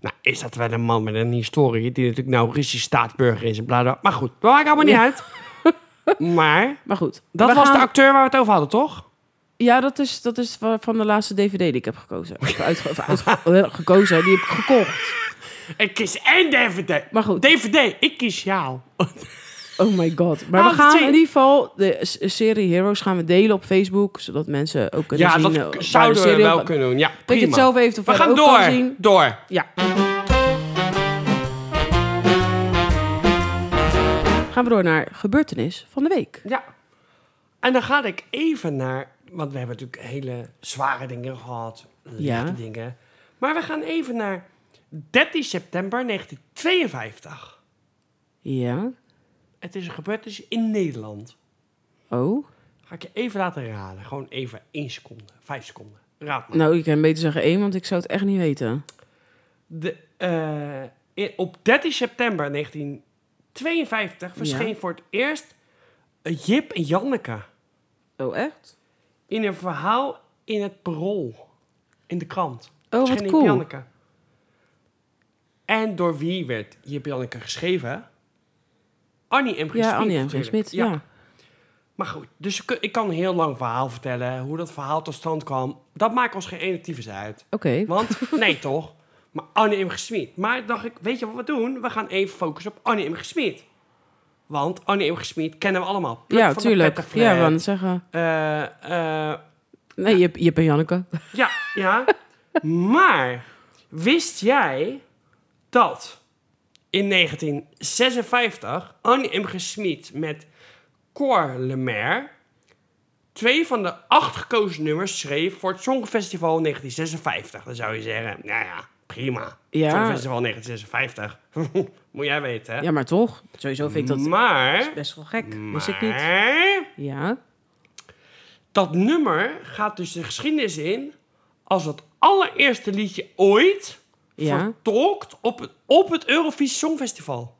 Nou, is dat wel een man met een historie die natuurlijk nou Russisch staatsburger is en bla bla. Maar goed, dat maakt allemaal niet Ja. uit. maar Maar goed. dat we was de gaan- acteur waar we het over hadden, toch? Ja, dat is, dat is wa- van de laatste DVD die ik heb gekozen. Of uitge- of uitge- eh, gekozen, die heb ik gekocht. Ik kies één DVD. Maar goed. DVD, ik kies jou. Oh my god. Maar we Oh, gaan shit. in ieder geval de s- serie Heroes gaan we delen op Facebook, zodat mensen ook kunnen Ja, zien dat eh, waar de zouden we serie wel op- kunnen doen. Ja, Dat je prima. het zelf even we verder gaan ook door. kan zien. Door. Ja. Gaan we door naar gebeurtenis van de week. Ja. En dan ga ik even naar... Want we hebben natuurlijk hele zware dingen gehad. Lichte Ja. dingen. Maar we gaan even naar 13 september 1952. Ja. Het is een gebeurtenis in Nederland. Oh. Ga ik je even laten raden. Gewoon even één seconde. Vijf seconden. Raad maar. Nou, ik kan beter zeggen één, want ik zou het echt niet weten. De, eh, i- op 13 september 1952 verscheen voor het eerst eh, Jip en Janneke. Oh, echt? In een verhaal in het Parool. In de krant. Oh, wat Verscheen Jip cool. en Janneke. En door wie werd Jip en Janneke geschreven? Annie M. G. Ja, Smit Annie en natuurlijk. Smit. Ja. Maar goed, dus ik kun- ik kan een heel lang verhaal vertellen. Hoe dat verhaal tot stand kwam. Dat maakt ons geen ene tyfus uit. Oké. Want, nee toch? Maar Annie M. G. Smit. Maar dacht ik, weet je wat we doen? We gaan even focussen op Annie M. G. Smit. Want Annie M. G. Smit kennen we allemaal. Pluk Ja, van de tuurlijk. Pettenflat. Ja, we gaan het zeggen. Eh, eh, Nee, je, je bent Janneke. ja, ja. maar wist jij dat in 1956 Annie M. G. Smit met Cor Lemaire twee van de acht gekozen nummers schreef voor het Songfestival 1956. Dan zou je zeggen, nou ja, prima. Ja. Songfestival 1956. Moet jij weten, hè? Ja, maar toch. Sowieso vind ik dat Mm. maar, best wel gek. Wist ik niet. maar, Ja. dat nummer gaat dus de geschiedenis in als het allereerste liedje ooit Ja. vertolkt op het, op het Eurovisie Songfestival.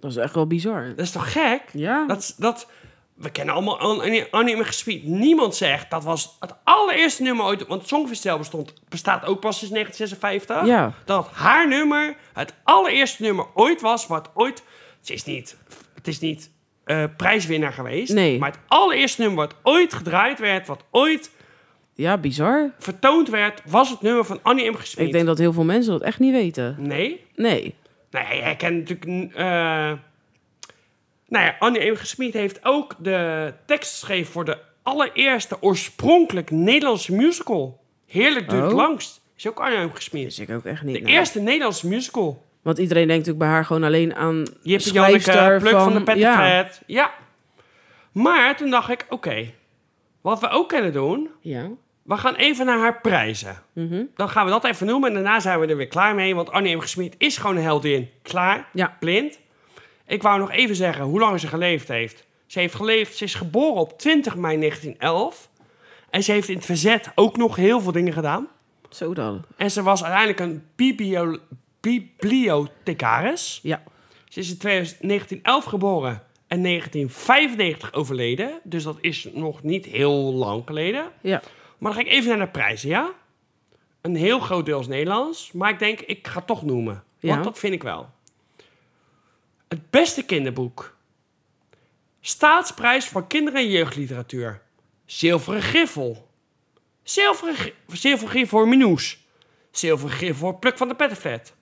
Dat is echt wel bizar. Dat is toch gek? Ja. Dat, is- dat, we kennen allemaal An- Annie- Annie M. G. Smit. Niemand zegt dat was het allereerste nummer ooit. Want het Songfestival bestond, bestaat ook pas sinds 1956. Ja. Dat haar nummer het allereerste nummer ooit was wat ooit... Het is niet, het is niet eh, prijswinnaar geweest. Nee. Maar het allereerste nummer wat ooit gedraaid werd, wat ooit Ja, bizar. vertoond werd, was het nummer van Annie M. G. Smit. Ik denk dat heel veel mensen dat echt niet weten. Nee? Nou Nee. Nee, hij kent natuurlijk... eh nou ja, Annie M. G. Smit heeft ook de tekst geschreven voor de allereerste oorspronkelijk Nederlandse musical. Heerlijk duurt Oh. het langst. Is ook Annie M. G. Smit. Wist ik ook echt niet. De nou. eerste Nederlandse musical. Want iedereen denkt natuurlijk bij haar gewoon alleen aan Je hebt schrijfster Janneke, Pluk van, de Pet ja. ja. ja. Maar toen dacht ik, oké, wat we ook kunnen doen... ja. We gaan even naar haar prijzen. Dan gaan we dat even noemen en daarna zijn we er weer klaar mee. Want Annie M. G. Smit is gewoon een heldin. Klaar, Ja. blind. Ik wou nog even zeggen hoe lang ze geleefd heeft. Ze heeft geleefd, ze is geboren op 20 mei 1911. En ze heeft in het verzet ook nog heel veel dingen gedaan. Zo dan. En ze was uiteindelijk een biblio- bibliothecaris. Ja. Ze is in 1911 geboren en 1995 overleden. Dus dat is nog niet heel lang geleden. Ja. Maar dan ga ik even naar de prijzen, ja? Een heel groot deel is Nederlands, maar ik denk, ik ga het toch noemen. Want Ja. dat vind ik wel. Het beste kinderboek. Staatsprijs voor kinderen en jeugdliteratuur. Zilveren Griffel. Zilveren, Gri- Zilveren Griffel voor Minoes. Zilveren Griffel voor Pluk van de Pettenvet.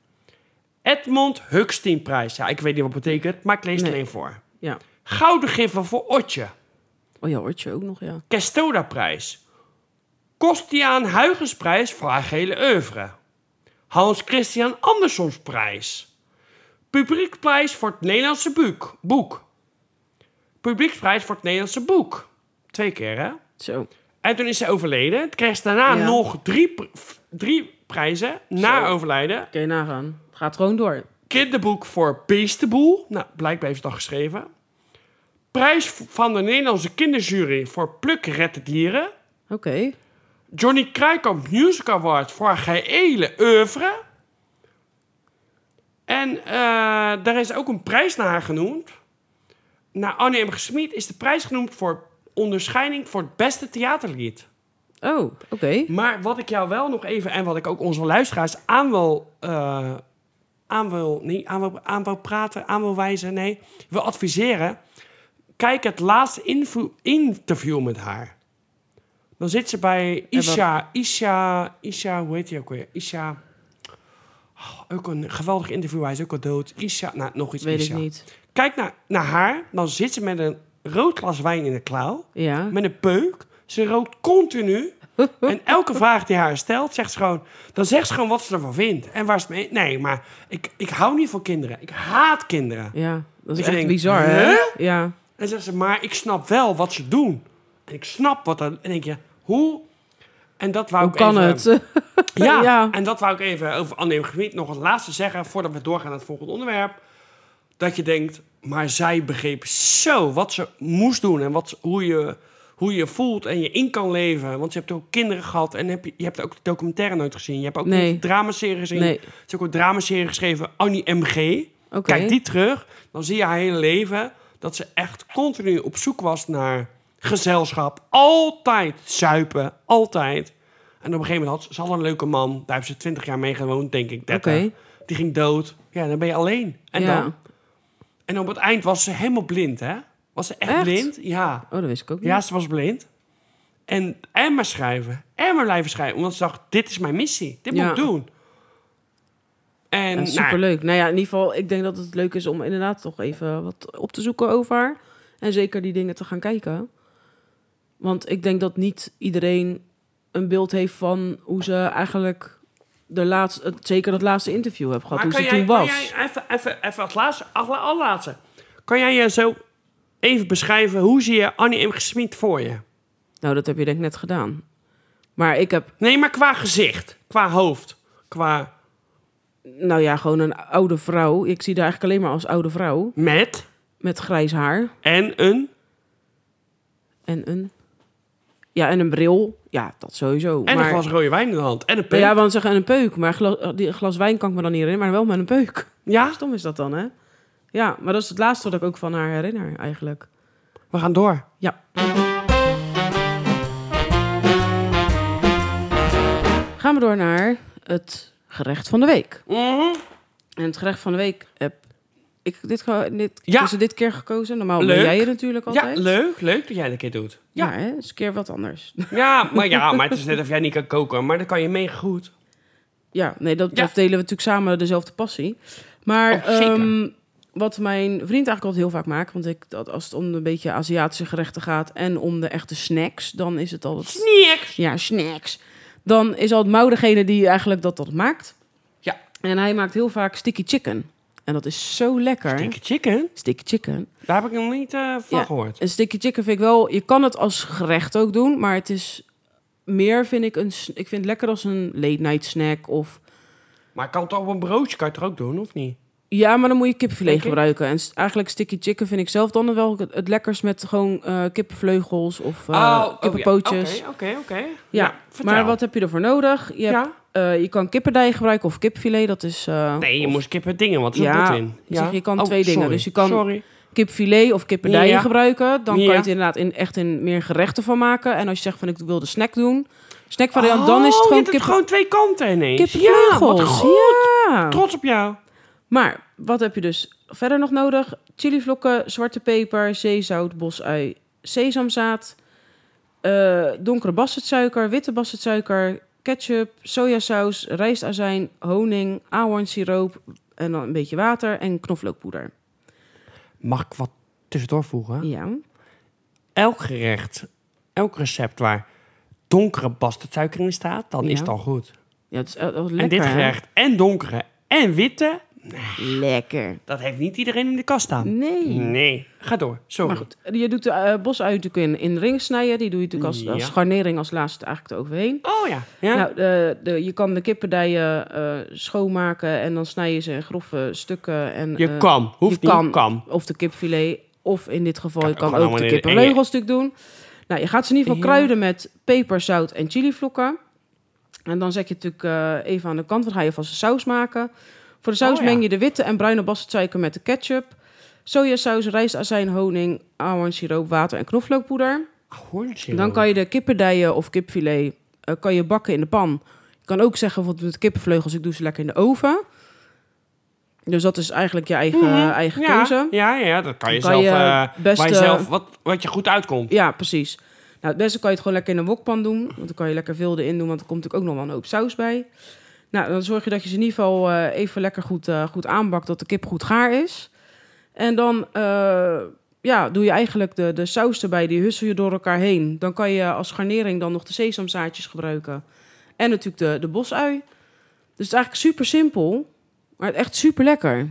Edmond Huxteenprijs. Ja, ik weet niet wat het betekent, maar ik lees Nee. er één voor. Ja. Gouden Griffel voor Otje. Oh ja, Ortje ook nog, ja. Kestoda-prijs. Kostiaan Huygensprijs voor haar gele oeuvre. Hans Christian Andersons prijs. Publiekprijs voor het Nederlandse buuk, boek. Publieksprijs voor het Nederlandse boek. Twee keer, hè? Zo. En toen is ze overleden. Toen kreeg ze daarna Ja. nog drie, pr- f- drie prijzen na Zo. overlijden. Kun je nagaan. Het gaat gewoon door. Kinderboek voor Beestenboel. Nou, blijkbaar heeft ze dat geschreven. Prijs v- van de Nederlandse kinderjury voor Pluk Rette Dieren. Oké. Johnny Kruikamp Music Award voor haar gehele oeuvre. En eh, daar is ook een prijs naar haar genoemd. Naar Annie M. G. Smit is de prijs genoemd voor onderscheiding voor het beste theaterlied. Oh, oké. Maar wat ik jou wel nog even en wat ik ook onze luisteraars aan wil. eh, aan wil, niet, aan wil, aan wil praten, aan wil wijzen, nee. Wil adviseren. Kijk het laatste invo- interview met haar. Dan zit ze bij wat- Isha. Isha, Isha, hoe heet die ook weer? Isha. Oh, ook een geweldig interview, hij is ook al dood. Isha, nou, nog iets Weet Isha. ik niet. Kijk naar, naar haar, dan zit ze met een rood glas wijn in de klauw Ja. met een peuk. Ze rookt continu. En elke vraag die haar stelt, zegt ze gewoon... Dan zegt ze gewoon wat ze ervan vindt. En waar ze mee... Nee, maar ik, ik hou niet van kinderen. Ik haat kinderen. Ja. Dat is Ik echt denk, bizar, hè? hè? Ja. En zegt ze, maar ik snap wel wat ze doen. En ik snap wat dat... En denk je, hoe... En dat wou Hoe ik kan even- het? Ja, Ja. en dat wou ik even over Anneem Gebied nog als laatste zeggen... voordat we doorgaan naar het volgende onderwerp. Dat je denkt, maar zij begreep zo wat ze moest doen... en wat, ze- hoe, je, hoe je voelt en je in kan leven. Want je hebt ook kinderen gehad en heb je, je hebt ook de documentaire nooit gezien. Je hebt ook Nee. niet de dramaserie gezien. Nee. Er is ook een dramaserie geschreven, Annie M.G. Oké. Kijk die terug, dan zie je haar hele leven... dat ze echt continu op zoek was naar gezelschap. Altijd zuipen, altijd... En op een gegeven moment had ze, ze had een leuke man. Daar hebben ze twintig jaar mee gewoond, denk ik. 30. Oké. Die ging dood. Ja, dan ben je alleen. En, ja. dan, en op het eind was ze helemaal blind, hè? Was ze echt, Echt? blind? Ja. Oh, dat wist ik ook niet. Ja, ze was blind. En, en maar schrijven. En maar blijven schrijven. Omdat ze dacht, dit is mijn missie. Dit Ja. moet ik doen. En Ja, nou, superleuk. Nou ja, in ieder geval, ik denk dat het leuk is om inderdaad toch even wat op te zoeken over haar. En zeker die dingen te gaan kijken. Want ik denk dat niet iedereen een beeld heeft van hoe ze eigenlijk de laatste, het- zeker dat laatste interview heb gehad, maar hoe ze kan jij, toen kan was. jij even, even, even als laatste, als la- allerlaatste. Kan jij je zo even beschrijven, hoe zie je Annie M. G. Smit voor je? Nou, dat heb je denk ik net gedaan. Maar ik heb, Nee, maar qua gezicht, qua hoofd, qua nou ja, gewoon een oude vrouw. Ik zie haar eigenlijk alleen maar als oude vrouw met met grijs haar. en een. En een. Ja, en een bril. Ja, dat sowieso. En een maar, glas rode wijn in de hand. En een Nou pen. ja, Ja, want zeggen en een peuk. Maar gla- die glas wijn kan ik me dan niet herinneren, maar wel met een peuk. Stom is dat dan, hè? Ja, maar dat is het laatste wat ik ook van haar herinner, eigenlijk. we gaan door. Ja. Gaan we door naar het gerecht van de week. Mhm. En het gerecht van de week heb ik dit, ge- dit, Ja. is er dit keer gekozen. Normaal Leuk. ben jij het natuurlijk Ja, altijd. leuk. Leuk dat jij dat keer doet. Ja, hè? is een keer wat anders. Ja, maar, ja, maar het is net of jij niet kan koken. Maar dan kan je mega goed. Ja, nee, dat Ja. dat delen we natuurlijk samen dezelfde passie. Maar Oh, zeker. ehm, wat mijn vriend eigenlijk altijd heel vaak maakt, want ik, dat, als het om een beetje Aziatische gerechten gaat en om de echte snacks, dan is het altijd. Niks. Ja, snacks. Dan is altijd Mouw degene die eigenlijk dat, dat maakt. Ja. En hij maakt heel vaak sticky chicken. En dat is zo lekker. Dikke chicken. Sticky chicken. Daar heb ik nog niet eh, van Ja. gehoord. Een sticky chicken vind ik wel... Je kan het als gerecht ook doen, maar het is meer, vind ik, een... s- Ik vind het lekker als een late night snack of... Maar ik kan het op een broodje kan je het er ook doen, of niet? Ja, maar dan moet je kipfilet Denk ik. gebruiken. En s- eigenlijk sticky chicken vind ik zelf dan wel het, het lekkerst met gewoon eh, kippenvleugels of eh, kippenpootjes. Oh, Oké, oké, oké. Ja, vertel. maar wat heb je ervoor nodig? Je, hebt, Ja. eh, je kan kippendij gebruiken of kipfilet. Dat is eh, Nee, je moest kippen dingen, want er zit Ja, bloed in. Oh, ik zeg, je kan twee dingen, sorry. dus je kan- Sorry. kipfilet of kippendij Ja. gebruiken. Dan kan Ja. je het inderdaad in, echt in meer gerechten van maken. En als je zegt van ik wil de snack doen, snackvariant, dan is het Oh, je gewoon, hebt kip, gewoon twee kanten ineens. Ja, wat kippenvleugels. goed. Ja. Trots op jou. Maar wat heb je dus verder nog nodig? Chilivlokken, zwarte peper, zeezout, bosui, sesamzaad, eh, donkere bassetsuiker, witte bassetsuiker, ketchup, sojasaus, rijstazijn, honing, ahornsiroop en dan een beetje water en knoflookpoeder. Mag ik wat tussendoor voegen? Ja. Elk gerecht, elk recept waar donkere bastardsuiker in staat, dan Ja. is het al goed. Ja, het is eh, wel en lekker. dit hè? gerecht en donkere en witte, Lekker. dat heeft niet iedereen in de kast staan. Nee. Nee, ga door. Sorry. Maar goed, je doet de eh bosuien natuurlijk in, in ring snijden. Die doe je natuurlijk als, als Ja. garnering als laatste eigenlijk eroverheen. Oh ja. ja? Nou, de, de, je kan de kippendijen eh, schoonmaken en dan snij je ze in grove stukken. En, je eh, kan. Hoeft je niet. kan. Kan. Of de kipfilet, of in dit geval, je Kan kan ook ook allemaal de in de- kippenleugels natuurlijk doen. Nou, je gaat ze in ieder geval Ja. kruiden met peper, zout en chilivlokken. En dan zet je het natuurlijk eh, even aan de kant, want dan ga je vast een saus maken. Voor de saus Oh, ja. meng je de witte en bruine bastardsuiker met de ketchup, sojasaus, rijstazijn, honing, ahornsiroop, water en knoflookpoeder. Hoornsiroop. Dan kan je de kippendijen of kipfilet eh, kan je bakken in de pan. Je kan ook zeggen, bijvoorbeeld met kippenvleugels, ik doe ze lekker in de oven. Dus dat is eigenlijk je eigen, Mhm. eigen ja, keuze. Ja, ja, dat kan je Dan kan zelf... je eh, best, waar je eh, zelf wat, wat je goed uitkomt. Ja, precies. Nou, het beste kan je het gewoon lekker in een wokpan doen. Want dan kan je lekker wilde in doen, want er komt natuurlijk ook nog wel een hoop saus bij. Nou, dan zorg je dat je ze in ieder geval eh, even lekker goed, eh, goed aanbakt, dat de kip goed gaar is. En dan eh, ja, doe je eigenlijk de, de saus erbij, die hussel je door elkaar heen. Dan kan je als garnering dan nog de sesamzaadjes gebruiken. En natuurlijk de, de bosui. Dus het is eigenlijk super simpel, maar echt super lekker.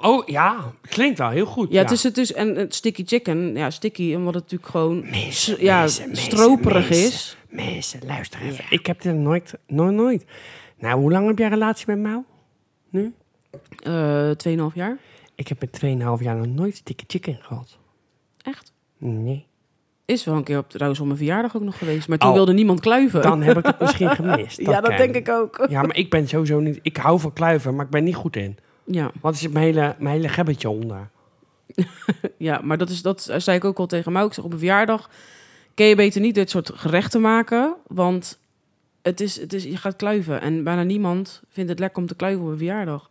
Oh ja, klinkt wel heel goed. Ja, Het is, het is, en het sticky chicken, ja, sticky, omdat het natuurlijk gewoon Mensen, ja, mensen, mensen, stroperig mensen. is. Mensen, luister even. Ik heb dit nooit, nooit, nooit. Nou, hoe lang heb jij een relatie met Mau? Nu? Eh, 2,5 jaar. Ik heb in 2,5 jaar nog nooit sticky chicken gehad. Echt? Nee. Is wel een keer op, trouwens op mijn verjaardag ook nog geweest. Maar toen Oh. wilde niemand kluiven. Dan heb ik het misschien gemist. ja, dat kan. denk ik ook. Ja, maar ik ben sowieso niet... Ik hou van kluiven, maar ik ben niet goed in. Ja, Wat is mijn hele, mijn hele gebbetje onder? ja maar dat, is, dat zei ik ook al tegen Mau. Ik zeg op een verjaardag... kun je beter niet dit soort gerechten maken. Want het is, het is, je gaat kluiven. En bijna niemand vindt het lekker om te kluiven op een verjaardag.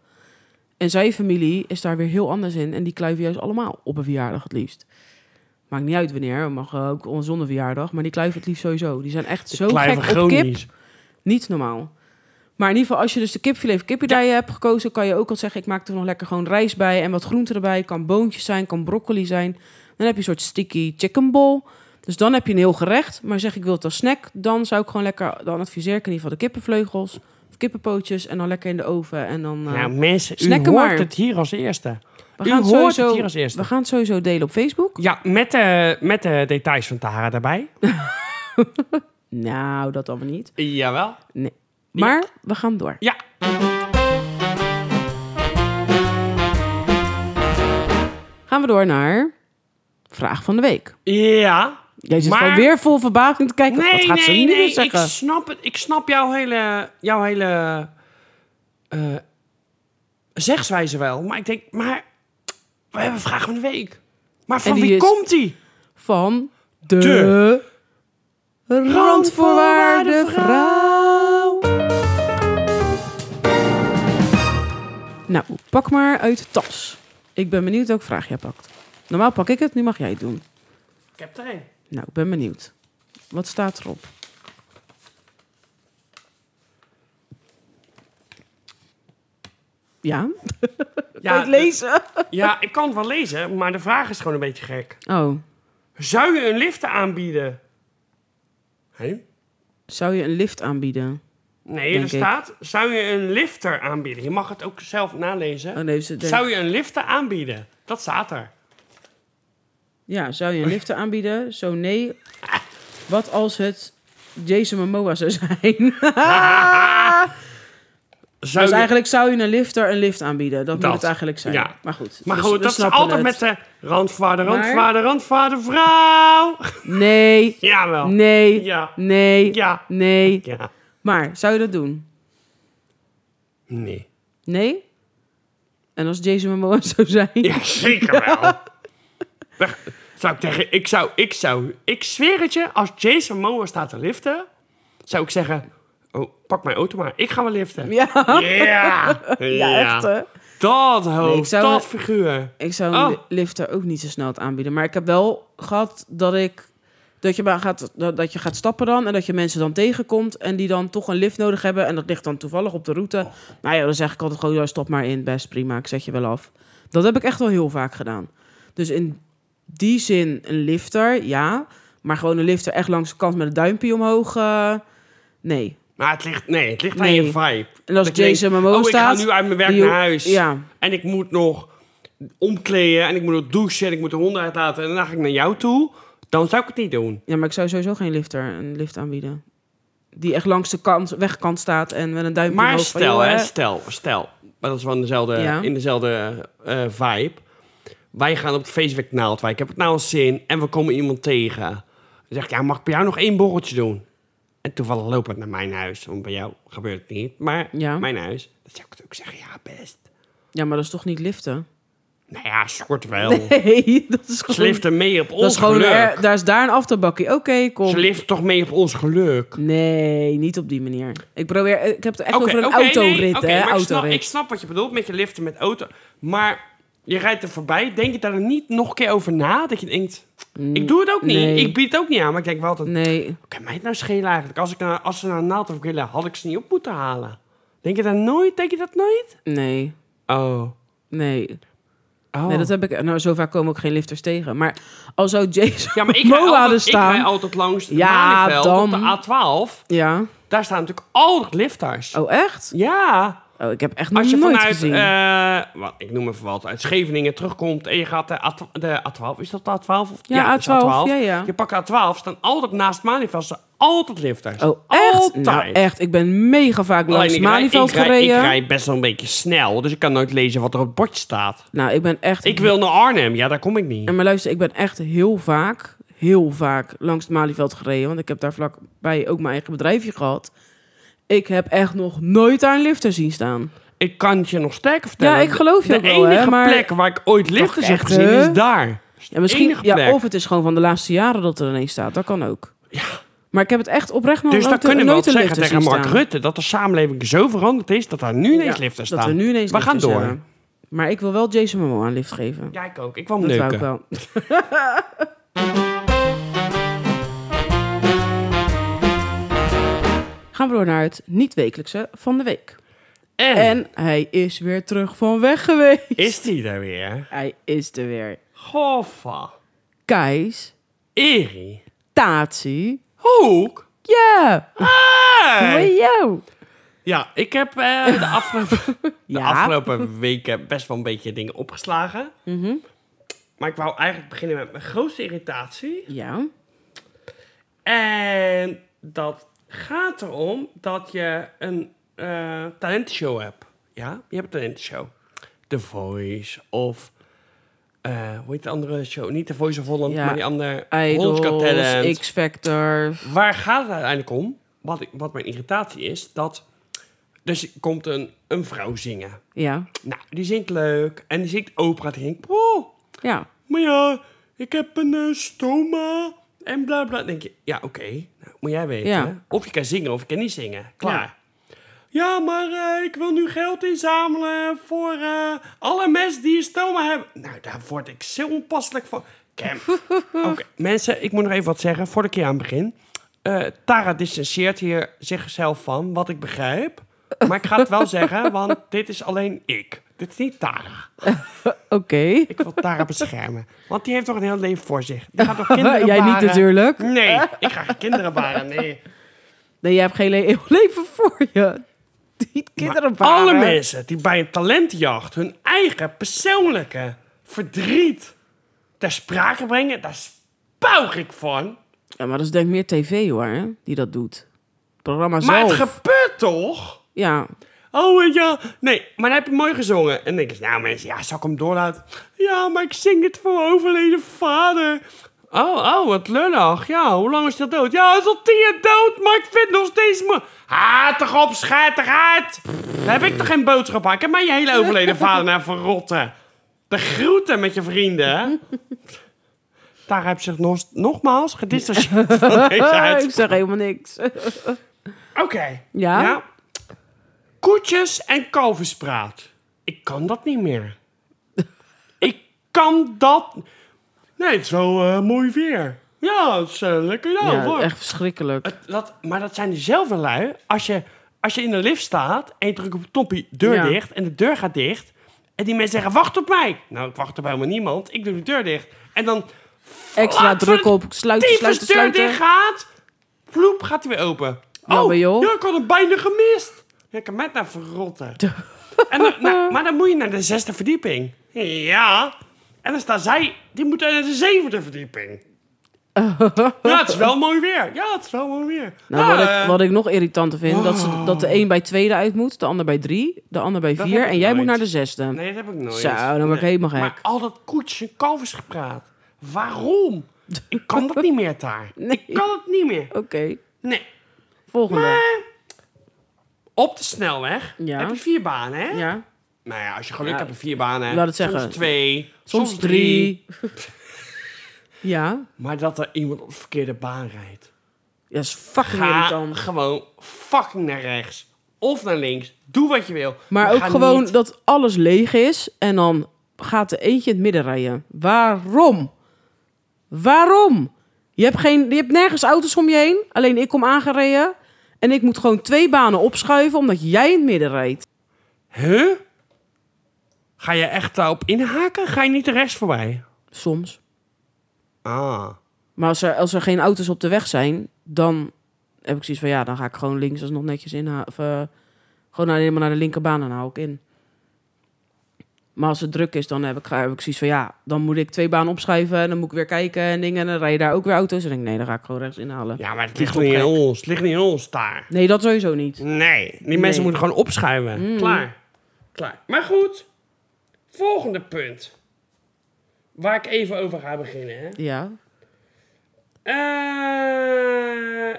En zijn familie is daar weer heel anders in. En die kluiven juist allemaal op een verjaardag het liefst. Maakt niet uit wanneer. Mag eh, ook zonder verjaardag. Maar die kluiven het liefst sowieso. Die zijn echt zo kluiven gek op kip. chronisch. Niet normaal. Maar in ieder geval, als je dus de kipfilet of kippiedijen hebt gekozen, kan je ook al zeggen: ik maak er nog lekker gewoon rijst bij en wat groenten erbij. Kan boontjes zijn, kan broccoli zijn. Dan heb je een soort sticky chicken bowl. Dus dan heb je een heel gerecht. Maar zeg ik wil het als snack, dan zou ik gewoon lekker, dan adviseer ik in ieder geval de kippenvleugels of kippenpootjes en dan lekker in de oven. En dan. eh, Nou, mensen, u snacken hoort maar. het hier als eerste. we u gaan hoort sowieso, het hier als eerste. We gaan het sowieso delen op Facebook. Ja, met, de met de details van Tara daarbij. Nou, dat allemaal niet. Jawel. Nee. Maar we gaan door. Ja. Gaan we door naar vraag van de week. Ja. Jij zit Maar- gewoon weer vol verbazing te kijken. Wat gaat ze nu weer ik zeggen? snap het. Ik snap jouw hele, jouw hele eh, zegswijze wel. Maar ik denk, maar we hebben een vraag van de week. Maar van die wie is- komt die? van de, De Randvoorwaardenvrouw. Nou, pak maar uit de tas. Ik ben benieuwd welke vraag jij pakt. Normaal pak ik het, nu mag jij het doen. Ik heb er een. Nou, ik ben benieuwd. Wat staat erop? Ja? kan je het lezen? ja, ik kan het wel lezen, maar de vraag is gewoon een beetje gek. Oh, Zou je een lift aanbieden? Hé? zou je een lift aanbieden? Nee, Denk er ik. staat, zou je een lifter aanbieden? Je mag het ook zelf nalezen. Oh, nee, ze denkt- Zou je een lifter aanbieden? Dat staat er. Ja, zou je een lifter aanbieden? Zo nee. Wat als het Jason Momoa zou zijn? Zou dus je- Ah! eigenlijk zou je een lifter een lift aanbieden. Dat, Dat. moet het eigenlijk zijn. Ja. Maar goed. Maar dus goed, we dat is snappen altijd met eh, het. de randvaarder, Maar- randvaarder, randvaarder, vrouw. Nee, Jawel. nee, Ja. nee, Ja. nee. Ja. Maar, zou je dat doen? Nee. Nee? En als Jason Momoa zou zijn? Ja, zeker wel. Weg. Zou ik tegen... Ik zou... Ik zou... Ik zweer het je, als Jason Momoa staat te liften, zou ik zeggen... Oh, pak mijn auto maar. Ik ga wel liften. Ja, Ja. Ja. ja, echt hè? Dat hoofd, Nee, ik zou- dat figuur. Ik zou een Oh. li- lifter ook niet zo snel het aanbieden. Maar ik heb wel gehad dat ik. Dat je, maar gaat, dat, dat je gaat stappen dan en dat je mensen dan tegenkomt en die dan toch een lift nodig hebben. En dat ligt dan toevallig op de route. Oh. Nou ja, dan zeg ik altijd gewoon, ja, stop maar in, best prima, ik zet je wel af. Dat heb ik echt wel heel vaak gedaan. Dus in die zin een lifter, ja. Maar gewoon een lifter echt langs de kant met een duimpje omhoog, eh, nee. Nou, het ligt, nee, het ligt Nee. aan je vibe. En als Dat je Jason denkt, Momoa oh, staat... ik ga nu uit mijn werk die- naar huis. Ja, En ik moet nog omkleden en ik moet nog douchen en ik moet de honden uitlaten. En daarna ga ik naar jou toe. Dan zou ik het niet doen. ja, maar ik zou sowieso geen lifter, een lift aanbieden. Die echt langs de kant, wegkant staat en met een duimpje Maar omhoog van, stel, joh, hè, hè. stel, stel. Maar dat is wel in dezelfde, Ja. in dezelfde eh, vibe. Wij gaan op het feestwerk Naaldwijk. Ik heb het nou al zin. En we komen iemand tegen. Dan zeg ik, ja, mag ik bij jou nog één borreltje doen? En toevallig loopt het naar mijn huis. Want bij jou gebeurt het niet. Maar Ja. mijn huis. Dan zou ik het ook zeggen, ja, best. Ja, maar dat is toch niet liften? Nou ja, soort wel. Nee, dat is Ze gewoon... lift er mee op Dat is ons gewoon, geluk. er- daar is daar een afterbakkie. Oké, kom. Ze lift toch mee op ons geluk. Nee, niet op die manier. Ik probeer, ik heb het echt Oké, over een oké, nee, autorit, oké, hè? maar ik, Autorit. snap, ik snap wat je bedoelt met je liften met auto. Maar je rijdt er voorbij. Denk je daar dan niet nog een keer over na? Dat je denkt, ik doe het ook niet. Mm, nee. Ik bied het ook niet aan. Maar ik denk wel altijd, Nee, kan mij het nou schelen eigenlijk? Als, ik naar, als ze naar naald of grillen, had ik ze niet op moeten halen. Denk je dat nooit? Denk je dat nooit? nee, Oh. nee. oh. Nee, dat heb ik... Nou, zo vaak komen ook geen lifters tegen. Maar al zou Jason ja, maar ik rij, Moa er altijd, ik staan... rij altijd langs het Ja, Malieveld dan. op de A12. Ja. Daar staan natuurlijk altijd lifters. Oh, echt? Ja. Oh, ik heb echt Als je nooit vanuit, gezien. eh, wat, ik noem even wat, uit Scheveningen terugkomt en je gaat de, A12 de A12, is dat de A12? Of, Ja, dat is A12, ja, ja. Je pakt A12, staan altijd naast Maniveld, staan altijd lifters. Oh, echt? Altijd. Nou, echt. Ik ben mega vaak Alleen langs ik rij- Malieveld ik rij- gereden. Ik rijd best wel een beetje snel, dus ik kan nooit lezen wat er op het bordje staat. Nou, ik ben echt... Ik wil naar Arnhem, ja, daar kom ik niet. En maar luister, ik ben echt heel vaak, heel vaak langs het Malieveld gereden. Want ik heb daar vlakbij ook mijn eigen bedrijfje gehad. Ik heb echt nog nooit daar een lifter zien staan. Ik kan het je nog sterker vertellen. Ja, ik geloof je De ook wel, enige hè, maar- plek waar ik ooit lifters heb echt, gezien hè? is daar. Ja, misschien, enige ja, plek. of het is gewoon van de laatste jaren dat er ineens staat. Dat kan ook. Maar ik heb het echt oprecht nog Dus nooit, dan kunnen we wel nooit een zeggen lifter tegen zien Mark staan. Rutte dat de samenleving zo veranderd is dat daar nu ineens Ja, lifters dat staan. we nu ineens we gaan lifters door. hebben. Maar ik wil wel Jason Momoa een lift geven. Ja, ik ook. Ik kwam dat neuken. wou ik wel. Gaan we door naar het niet-wekelijkse van de week. En, En hij is weer terug van weg geweest. is die daar weer? Hij is er weer. Goffa. Keis, Eri. Tatie. Hoek. Ja, Hey. hoi jou. Ja, ik heb eh, de, afgelopen, de Ja. afgelopen weken best wel een beetje dingen opgeslagen. Mhm. Maar ik wou eigenlijk beginnen met mijn grootste irritatie. Ja, En dat gaat erom dat je een eh, talentenshow hebt. Ja, je hebt een talentenshow. The Voice of... eh, hoe heet de andere show? Niet The Voice of Holland, Ja. maar die andere... Holland's Got Talent. Idols, X-Factor. Waar gaat het uiteindelijk om? Wat, ik, wat mijn irritatie is, dat... Dus er komt een, een vrouw zingen. Ja, Nou, die zingt leuk. En die zingt opera. Die denkt, "Wow, ja. maar ja, ik heb een eh, stoma en bla bla. Dan denk je, ja, oké, nou, moet jij weten. Ja. hè? Of je kan zingen of je kan niet zingen. Klaar. Ja, maar eh, ik wil nu geld inzamelen voor eh, alle mensen die een stoma hebben. Nou, daar word ik zo onpasselijk van. Cam. Oké, mensen, ik moet nog even wat zeggen voordat ik hier aan begin. Eh, Tara distancieert hier zichzelf van, wat ik begrijp. Maar ik ga het wel zeggen, want dit is alleen ik. Dit is niet Tara. Oké. Ik wil Tara beschermen. Want die heeft toch een heel leven voor zich. Die gaat toch kinderen Jij niet baren? natuurlijk. Nee, ik ga geen kinderen baren. Nee. Nee, jij hebt geen le- heel leven voor je. Die kinderen Maar alle baren. mensen die bij een talentjacht hun eigen persoonlijke verdriet ter sprake brengen, daar spuug ik van. Ja, maar dat is denk ik meer tv hoor, hè, die dat doet. Het programma Maar zelf. het gebeurt toch? Ja, Oh eh, ja, nee, maar dan heb je mooi gezongen. En dan denk ik, nou mensen, ja, zal ik hem doorlaten? Ja, maar ik zing het voor mijn overleden vader. Oh, oh, wat lullig. Ja, hoe lang is dat dood? Ja, hij is al tien jaar dood, maar ik vind nog steeds mooi. Ha, toch op, schijt toch uit. Daar heb ik toch geen boodschap aan. Ik heb mijn hele overleden vader naar verrotten. De groeten met je vrienden. Daar heb zich nog, nogmaals gedistanceerd van deze Ah, ik uitspraak. zeg helemaal niks. Oké. Ja? Koetjes en kalverspraat. Ik kan dat niet meer. ik kan dat... Nee, het is wel eh, mooi weer. Ja, het is eh, lekker nou, ja, hoor. echt verschrikkelijk. Het- dat, maar dat zijn dezelfde lui. Als je, als je in de lift staat en je drukt op het toppie, deur Ja. dicht en de deur gaat dicht. En die mensen zeggen, wacht op mij. Nou, ik wacht op helemaal niemand. Ik doe de deur dicht. En dan Extra Laat druk voor op, sluiten, tyfus sluiten, deur dicht sluiten. gaat. Ploep, gaat hij weer open. Oh, Jammer, joh. ja, ik had hem bijna gemist. Ik kan met naar verrotten. en dan- nou, maar dan moet je naar de zesde verdieping. Ja. En dan staan zij, die moeten naar de zevende verdieping. ja, het is wel mooi weer. Ja, het is wel mooi weer. Nou, Ja, wat, eh, ik, wat ik nog irritanter vind, dat, ze, dat de een bij tweede uit moet, de ander bij drie, de ander bij Oh. Dat vier heb ik en jij moet nooit. naar de zesde. eh, Nee, dat heb ik nooit. Zo, dan word ik Nee. helemaal gek. Maar al dat koets en kalversgepraat. Waarom? Ik kan dat niet meer daar. Nee. Ik kan het niet meer. Oké, Nee. volgende. Maar op de snelweg Ja. heb je vier banen, hè? Ja, Nou ja, als je geluk Ja. hebt, heb je vier banen. Ik wou het zeggen. Soms twee, soms, soms, drie. ja, Maar dat er iemand op de verkeerde baan rijdt. dat is fucking Ga irritant. gewoon fucking naar rechts. Of naar links. Doe wat je wil. Maar ook ga gewoon niet- dat alles leeg is en dan gaat er eentje in het midden rijden. Waarom? Waarom? Je hebt, geen, je hebt nergens auto's om je heen, alleen ik kom aangereden. En ik moet gewoon twee banen opschuiven omdat jij in het midden rijdt. Huh? Ga je echt daarop inhaken? Ga je niet de rest voorbij? Soms. Ah. Maar als er, als er geen auto's op de weg zijn, dan heb ik zoiets van ja, dan ga ik gewoon links alsnog netjes in. Of, eh, gewoon alleen maar naar de linkerbaan en dan hou ik in. Maar als het druk is, dan heb ik, heb ik zoiets van ja, dan moet ik twee banen opschuiven en dan moet ik weer kijken en dingen. En dan rijden daar ook weer auto's. En dan denk ik nee, dan ga ik gewoon rechts inhalen. Ja, maar het Die ligt groep niet in gek. ons. Het ligt niet in ons daar. Nee, dat sowieso niet. Nee, die Nee. Mm. mensen moeten gewoon opschuiven. Klaar. Klaar. Maar goed, volgende punt. Waar ik even over ga beginnen. Hè. Ja. Eh,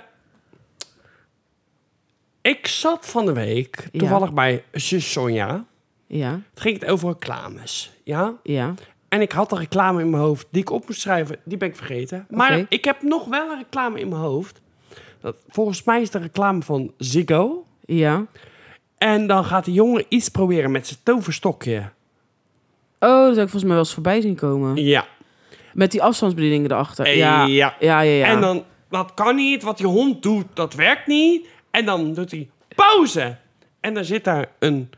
ik zat van de week Ja. toevallig bij zus Sonja. Ja, Het ging het over reclames. Ja? ja. En ik had een reclame in mijn hoofd die ik op moest schrijven. Die ben ik vergeten. Maar Oké. ik heb nog wel een reclame in mijn hoofd. Dat, volgens mij is de reclame van Ziggo. Ja. En dan gaat de jongen iets proberen met zijn toverstokje. Oh, dat heb ik volgens mij wel eens voorbij zien komen. Ja. Eh, Met die afstandsbedieningen erachter. Ja. Ja, ja, ja. ja. En dan, dat kan niet, wat die hond doet, dat werkt niet. En dan doet hij pauze. En dan zit daar een,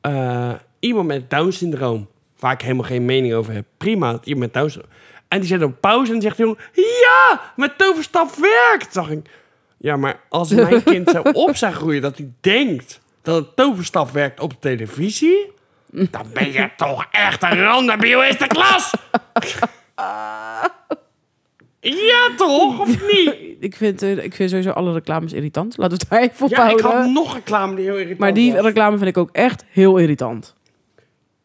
eh, iemand met Down-syndroom. Waar ik helemaal geen mening over heb. Prima, dat iemand met Down-syndroom. En die zet op pauze en dan zegt die jongen... Ja, mijn toverstaf werkt! Dacht ik, ja, maar als mijn kind zo op zou groeien dat hij denkt... dat het toverstaf werkt op de televisie... dan ben je toch echt een randabiel eerste klas! Ja, toch? Of niet? Ik vind, eh, ik vind sowieso alle reclames irritant. Laten we het daar even op Ja, ik houden. had nog reclame die heel irritant Maar die was. reclame vind ik ook echt heel irritant.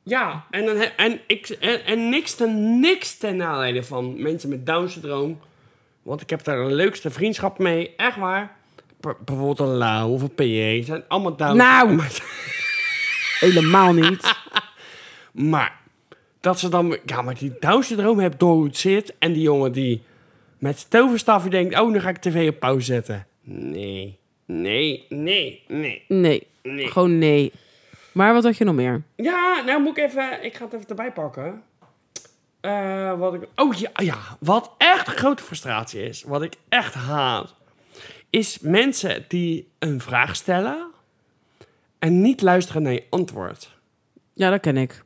Ja, en, dan, he- en, ik, en, en niks, ten, niks ten nadele van mensen met Down-syndroom. Want ik heb daar de leukste vriendschap mee. Echt waar. B- bijvoorbeeld een Lau of een PJ. zijn allemaal Down. Nou! Maar, Helemaal niet. maar dat ze dan... Ja, maar die Down-syndroom hebt door hoe het zit. En die jongen die met zijn toverstafje denkt... Oh, nu ga ik tv op pauze zetten. Nee. Nee, nee, nee. Nee. Nee. Gewoon nee. Maar wat had je nog meer? Ja, nou moet ik even... Ik ga het even erbij pakken. Eh, wat ik... Oh ja, ja, wat echt grote frustratie is, wat ik echt haat, is mensen die een vraag stellen en niet luisteren naar je antwoord. Ja, dat ken ik.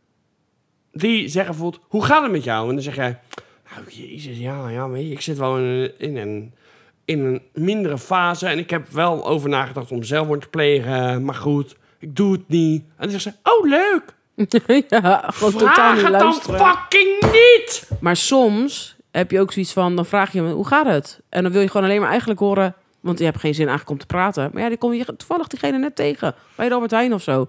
Die zeggen bijvoorbeeld, hoe gaat het met jou? En dan zeg jij, nou jezus, ja, ja, weet je, ik zit wel in, in, een, in een mindere fase en ik heb wel over nagedacht om zelfmoord te plegen, maar goed, ik doe het niet. En dan zeggen ze, oh leuk, ja, gewoon totaal Vraag niet het dan luisteren. fucking niet! Maar soms heb je ook zoiets van, dan vraag je me, hoe gaat het? En dan wil je gewoon alleen maar eigenlijk horen, want je hebt geen zin eigenlijk om te praten. Maar ja, die kom je toevallig diegene net tegen, bij de Albert Heijn of zo.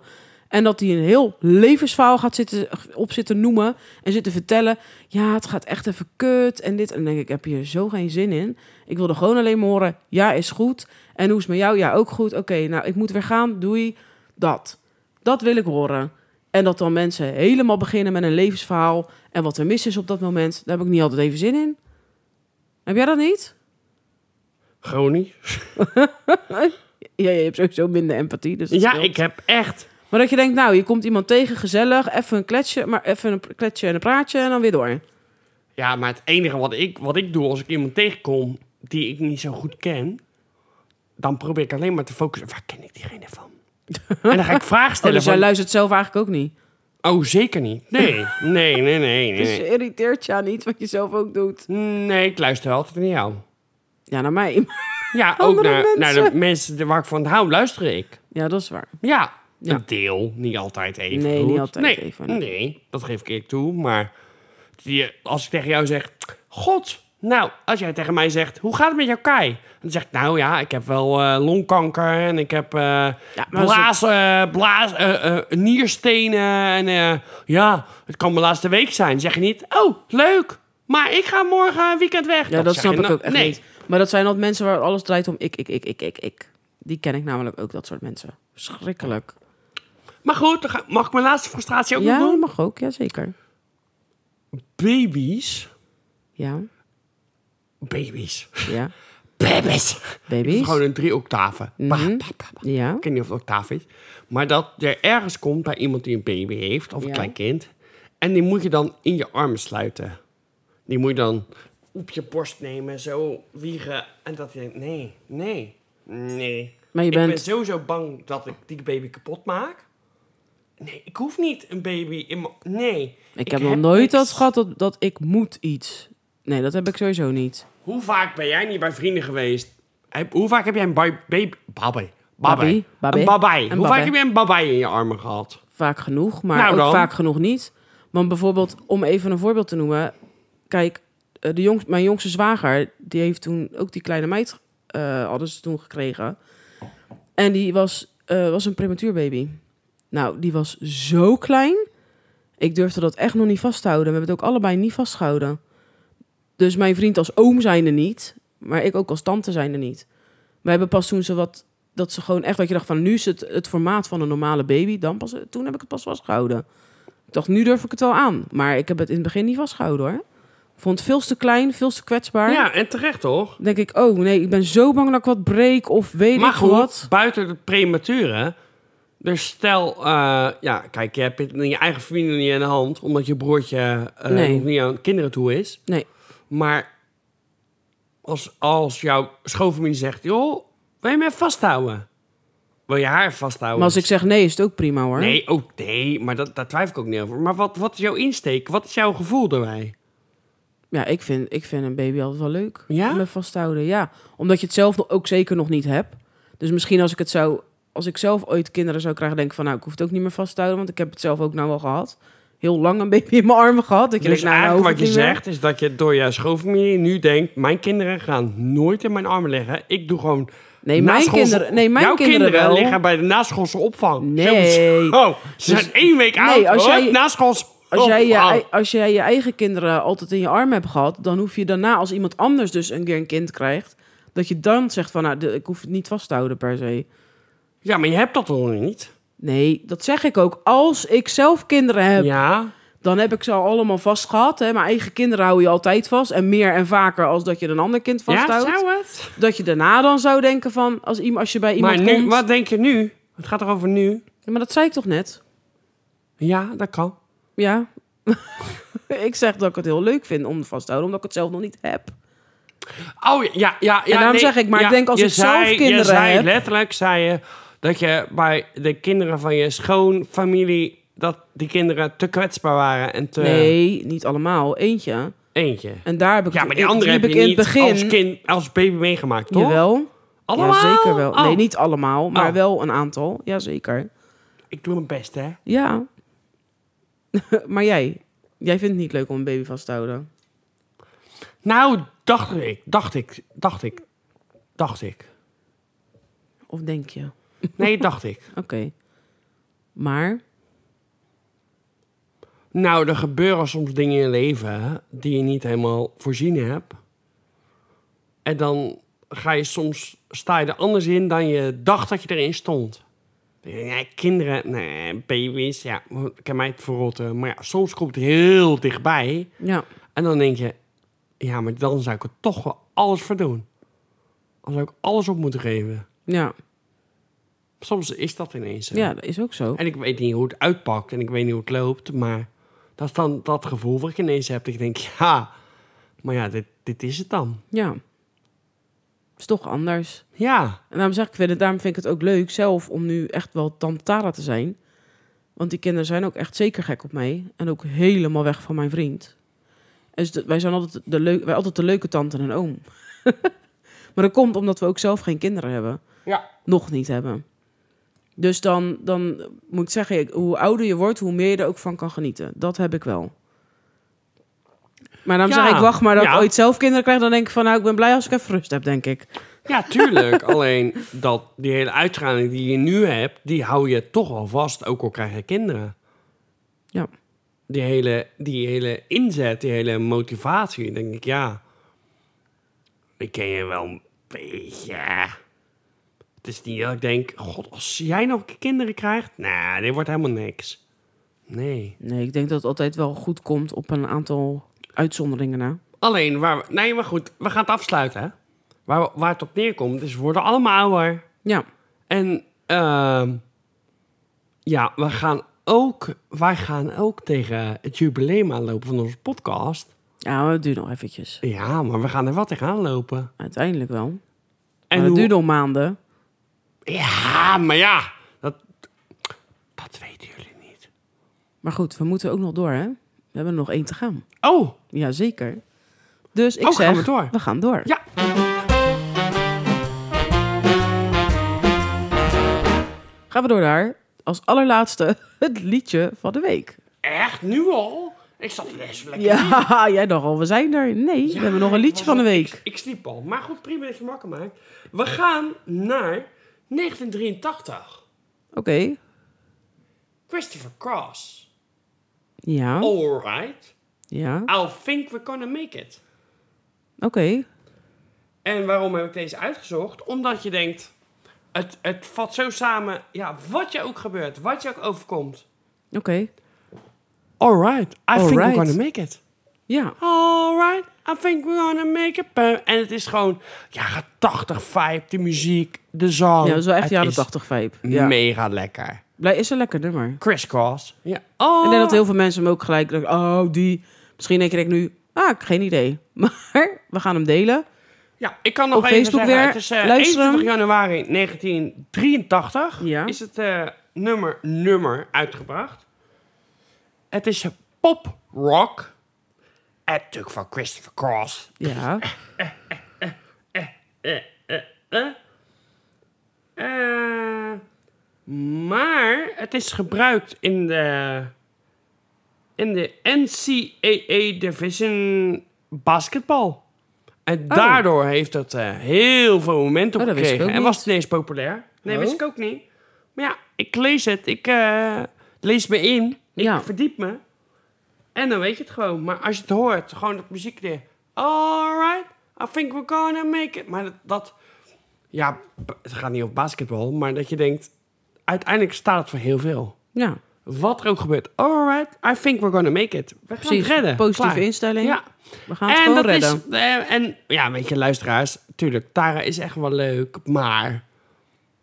En dat hij een heel levensverhaal gaat zitten, op zitten noemen en zitten vertellen. Ja, het gaat echt even kut en dit. En dan denk ik, heb je zo geen zin in. Ik wilde gewoon alleen maar horen, ja, is goed. En hoe is het met jou? Ja, ook goed. Oké, nou, ik moet weer gaan. Doei. Dat. Dat wil ik horen. En dat dan mensen helemaal beginnen met een levensverhaal. En wat er mis is op dat moment, daar heb ik niet altijd even zin in. Heb jij dat niet? Gronie. Ja, je hebt sowieso minder empathie. Dus dat Ja, scheelt. ik heb echt. Maar dat je denkt, nou, je komt iemand tegen, gezellig, even een kletsje, maar even een kletsje en een praatje en dan weer Oh, door. Ja, maar het enige wat ik, wat ik doe als ik iemand tegenkom die ik niet zo goed ken, dan probeer ik alleen maar te focussen. Waar ken ik diegene van? En dan ga ik vragen Oh, stellen. dus jij van, luistert zelf eigenlijk ook niet. oh, zeker niet. Nee, nee, nee, nee, nee. Dus je Nee, irriteert je aan iets wat je zelf ook doet. nee ik luister altijd naar jou. Ja, naar mij. Ja, ook Andere naar, naar mensen. de mensen waar ik van hou, luister ik. Ja, dat is waar. Ja, Ja. een deel. Niet altijd even Nee, goed. niet altijd nee, even, Nee. nee. dat geef ik eerlijk toe. Maar die, als ik tegen jou zeg... God, nou, als jij tegen mij zegt... Hoe gaat het met jouw kai? Dan zeg ik, nou ja, ik heb wel eh, longkanker... en ik heb eh maar dat is blaas, eh, blaas, eh, eh, nierstenen... en eh, ja, het kan mijn laatste week zijn. Dan zeg je niet, oh, leuk... Maar ik ga morgen weekend weg. Ja, dat, zeg snap je, ik nou, ook echt nee. niet. Maar dat zijn altijd mensen waar alles draait om ik, ik, ik, ik, ik, ik. Die ken ik namelijk ook, dat soort mensen. Schrikkelijk. Maar goed, dan ga- mag ik mijn laatste frustratie ook Ja, nog dat doen? mag ook, ja zeker. Baby's. Ja, Baby's. ja. Baby's. Baby's? Gewoon een drie octaven. Pa, Mhm. pa, pa, pa. Ja. Ik weet niet of het octaaf is. Maar dat er ergens komt bij iemand die een baby heeft of een Ja. klein kind. En die moet je dan in je armen sluiten. Die moet je dan op je borst nemen, zo wiegen. En dat je denkt, nee, nee, nee. Maar je Ik ben bent- sowieso bang dat ik die baby kapot maak. Nee, ik hoef niet een baby in mijn... Nee. Ik, heb nog nooit niks. dat gehad dat, dat ik moet iets. Nee, dat heb ik sowieso niet. Hoe vaak ben jij niet bij vrienden geweest? Heb- Hoe vaak heb jij een baby... Baby... Babi. Babi. Babi. Babi. Een babai. Een Hoe vaak babai. heb jij een babai in je armen gehad? Vaak genoeg, maar Nou ook dan. vaak genoeg niet. Want bijvoorbeeld, om even een voorbeeld te noemen. Kijk, eh, de jongst, mijn jongste zwager, die heeft toen ook die kleine meid, eh hadden ze toen gekregen. En die was, eh, was een prematuur baby. Nou, die was zo klein. Ik durfde dat echt nog niet vasthouden. We hebben het ook allebei niet vastgehouden. Dus mijn vriend als oom zijnde niet. Maar ik ook als tante zijnde niet. We hebben pas toen ze wat... Dat ze gewoon echt dat je dacht van... Nu is het het formaat van een normale baby. Dan pas, toen heb ik het pas vastgehouden. Ik dacht, nu durf ik het wel aan. Maar ik heb het in het begin niet vastgehouden hoor. Ik vond het veel te klein, veel te kwetsbaar. Ja, en terecht toch? Dan denk ik, oh nee, ik ben zo bang dat ik wat breek of weet maar ik goed, wat. buiten de premature... Dus stel... eh, ja, kijk, je hebt het in je eigen familie niet in de hand... omdat je broertje eh, Nee. nog niet aan kinderen toe is. Nee, Maar als, als jouw schoonfamilie zegt... joh, wil je me even vasthouden? Wil je haar vasthouden? maar als ik zeg nee, is het ook prima hoor. Nee, ook nee, maar dat, daar twijfel ik ook niet over. Maar wat, wat is jouw insteek? Wat is jouw gevoel daarbij? Ja, ik vind, ik vind een baby altijd wel leuk. Ja? Om me vast te houden, ja. Omdat je het zelf nog- ook zeker nog niet hebt. Dus misschien als ik het zou... Als ik zelf ooit kinderen zou krijgen, denk ik van... Nou, ik hoef het ook niet meer vast te houden. Want ik heb het zelf ook nou wel gehad. Heel lang een baby in mijn armen gehad. Dat je Dus denkt, nou, nou eigenlijk hoef wat ik je het niet meer. zegt is dat je door je schoonfamilie nu denkt... mijn kinderen gaan nooit in mijn armen liggen. Ik doe gewoon... Nee, mijn naschoolse- kinderen- nee, mijn jouw kinderen wel. liggen bij de naschoolse opvang. Nee. Oh, ze Dus- zijn één week Nee, oud. als Als jij- naschoolse Als jij, je, opvang. ei- als jij je eigen kinderen altijd in je arm hebt gehad... dan hoef je daarna, als iemand anders dus een keer een kind krijgt... dat je dan zegt van, nou, de- ik hoef het niet vast te houden per se. Ja, maar je hebt dat nog niet. Nee, dat zeg ik ook. Als ik zelf kinderen heb, Ja. dan heb ik ze al allemaal vast gehad. Hè. Mijn eigen kinderen hou je altijd vast. En meer en vaker als dat je een ander kind Ja, vasthoudt. zou het? Dat je daarna dan zou denken van, als, iemand, als je bij iemand Maar nu, komt... wat denk je nu? Het gaat er over nu. Ja, Maar dat zei ik toch net? Ja, dat kan. Ja. ik zeg dat ik het heel leuk vind om vast te houden, omdat ik het zelf nog niet heb. Oh ja, ja, ja. ja, daarom zeg ik, maar ik denk als je ik zelf zei- je kinderen zei, heb- Letterlijk zei je dat je bij de kinderen van je schoonfamilie... dat die kinderen te kwetsbaar waren en te Nee, niet allemaal. Eentje. eentje. En daar heb ik Ja, het- maar die ik- andere liep heb je ik in niet het begin. als, kind, als baby meegemaakt, toch? Jawel. Allemaal? Ja, zeker wel. Oh, Nee, niet allemaal, maar Oh. wel een aantal. Jazeker. Ik doe mijn best, hè. Ja. maar jij? Jij vindt het niet leuk om een baby vast te houden? Nou, dacht ik, dacht ik, dacht ik, dacht ik. Of denk je? Nee, dacht ik. Oké. Maar? Nou, er gebeuren soms dingen in je leven die je niet helemaal voorzien hebt. En dan ga je soms, sta je er anders in dan je dacht dat je erin stond. Ja, kinderen, nee, baby's, ja, kan mij het verrotten. Maar ja, soms komt het heel dichtbij. Ja. En dan denk je, ja, maar dan zou ik er toch wel alles voor doen. Dan zou ik alles op moeten geven. Ja. Soms is dat ineens. zo. Ja, dat is ook zo. En ik weet niet hoe het uitpakt en ik weet niet hoe het loopt, maar dat is dan dat gevoel wat ik ineens heb. Dat ik denk, ja, maar ja, dit, dit is het dan. Ja. Is toch anders. Ja, En daarom zeg ik, ik vind het, daarom vind ik het ook leuk zelf om nu echt wel tante Tara te zijn. Want die kinderen zijn ook echt zeker gek op mij. En ook helemaal weg van mijn vriend. En dus de- wij zijn altijd de, leuk, wij altijd de leuke tante en oom. maar Maar dat komt omdat we ook zelf geen kinderen hebben. Ja. Nog niet hebben. Dus dan, dan moet ik zeggen, ik- hoe ouder je wordt, hoe meer je er ook van kan genieten. Dat heb ik wel. Maar dan Ja, zeg ik, wacht maar dat ja. ik ooit zelf kinderen krijg. Dan denk ik van, nou, ik ben blij als ik even rust heb, denk ik. Ja, tuurlijk. Alleen dat die hele uitstraling die je nu hebt, die hou je toch al vast, ook al krijg je kinderen. Ja. Die hele, die hele inzet, die hele motivatie, dan denk ik, ja, ik ken je wel een beetje. Het is niet dat ik denk, god, als jij nog kinderen krijgt, nou, dit wordt helemaal niks. Nee. Nee, ik denk dat het altijd wel goed komt op een aantal uitzonderingen na. Alleen waar we, nee, maar goed, we gaan het afsluiten, hè? Waar, we- waar het op neerkomt is, we worden allemaal ouder. Ja, En ehm, ja, we gaan ook, wij gaan ook tegen het jubileum aanlopen van onze podcast. ja maar het duurt nog eventjes. Ja, maar we gaan er wat tegenaan lopen. Uiteindelijk wel. En En het hoe- duurt nog maanden. Ja, maar ja, dat, dat weten jullie niet. Maar goed, we moeten ook nog door, hè? We hebben er nog één te gaan. Oh, Jazeker. Dus ik Oh, zeg, gaan we door? we gaan door. ja. Gaan we door naar, als allerlaatste, het liedje van de week. Echt, nu al? Ik zat best lekker. Ja, jij dacht al, we zijn er. Nee, we hebben nog een liedje van de week. Ik sliep al, maar goed, prima dat je makker maakt. We gaan naar 1983. Oké, Christopher Cross. Oh. ja, Alright. ja, I'll think we're gonna make it. oké. En waarom heb ik deze uitgezocht? Omdat je denkt, het, het vat zo samen, ja, wat je ook gebeurt, wat je ook overkomt. Oké, Alright, I think we're gonna make it. ja, Oh, Alright, I think we're gonna make it. Pam. En het is gewoon jaren 80 vibe, de muziek, de zang. ja, dat is wel echt Het jaren is 80 vibe. Ja. Mega lekker. Blij is een lekker nummer. Chris Cross. Ja. Oh. Ik denk dat heel veel mensen hem ook gelijk denken, oh, die. Misschien denk ik nu, ah, ik heb geen idee. Maar we gaan hem delen. Ja, ik kan nog Op even Facebook zeggen, weer. het is eh, Luister hem. 21 januari 1983 Ja. is het eh, nummer, nummer uitgebracht. Het is pop rock. En natuurlijk van Christopher Cross. Ja, Eh, maar het is gebruikt in de, in de NCAA Division basketbal. En daardoor heeft dat eh, heel veel momentum Oh, dat wist ik gekregen. ook En niet. was het ineens populair. Nee, Oh. wist ik ook niet. Maar ja, ik lees het. Ik eh, lees me in. Ik Ja. verdiep me. En dan weet je het gewoon. Maar als je het hoort, gewoon dat muziek weer. Alright, I think we're gonna make it. Maar dat, dat ja, b- het gaat niet over basketbal, maar dat je denkt, uiteindelijk staat het voor heel veel. ja. Wat er ook gebeurt. Alright, I think we're gonna make it. We gaan Precies, het redden. positieve Klaar. instelling. Ja. We gaan het gewoon dat redden. is eh, en ja, weet je, luisteraars, tuurlijk, Tara is echt wel leuk, maar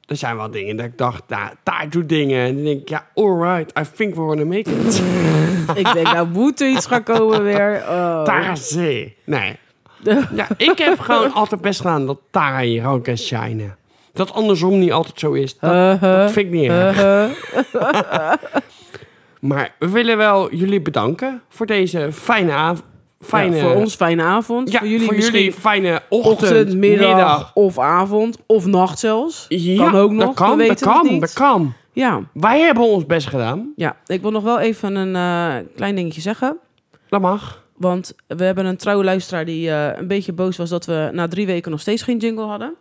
er zijn wel dingen dat ik dacht, nou, Tara doet dingen en dan denk ik, ja, alright, I think we're gonna make it. Ik denk, nou moet er iets gaan komen weer. Oh. Tara C. Nee. Ja, ik heb gewoon altijd best gedaan dat Tara hier ook kan shinen. Dat andersom niet altijd zo is. Dat, Eh, dat vind ik niet erg. maar we willen wel jullie bedanken voor deze fijne avond. Fijne, Ja, voor ons fijne avond. Ja, voor jullie misschien fijne ochtend, ochtend, middag, middag. of avond. Of nacht zelfs. Ja, kan ook nog. Dat kan, we weten dat kan, het niet. dat kan. Ja. Wij hebben ons best gedaan. ja, ik wil nog wel even een eh, klein dingetje zeggen. Dat mag. Want we hebben een trouwe luisteraar die eh, een beetje boos was dat we na drie weken nog steeds geen jingle hadden.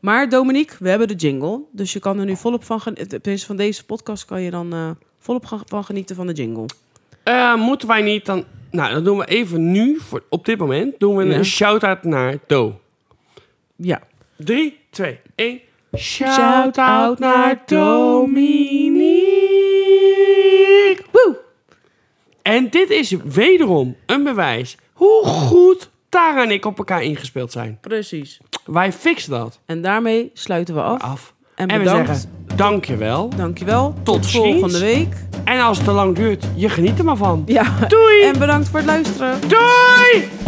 Maar Dominique, we hebben de jingle. Dus je kan er nu volop van genieten. Tenminste, van deze podcast kan je dan eh, volop gaan- van genieten van de jingle. Eh, moeten wij niet dan... Nou, dat doen we even nu, voor, op dit moment, doen we Ja. een shout-out naar Do. Ja. 3, 2, 1. Shout-out naar Dominique. Woe! En dit is wederom een bewijs hoe goed Tara en ik op elkaar ingespeeld zijn. Precies. Wij fixen dat En daarmee sluiten we af. af. En En we bedankt. zeggen dankjewel. Dankjewel. Tot, ziens. volgende week. En als het te lang duurt, je geniet er maar van. Ja. Doei! En bedankt voor het luisteren. Doei!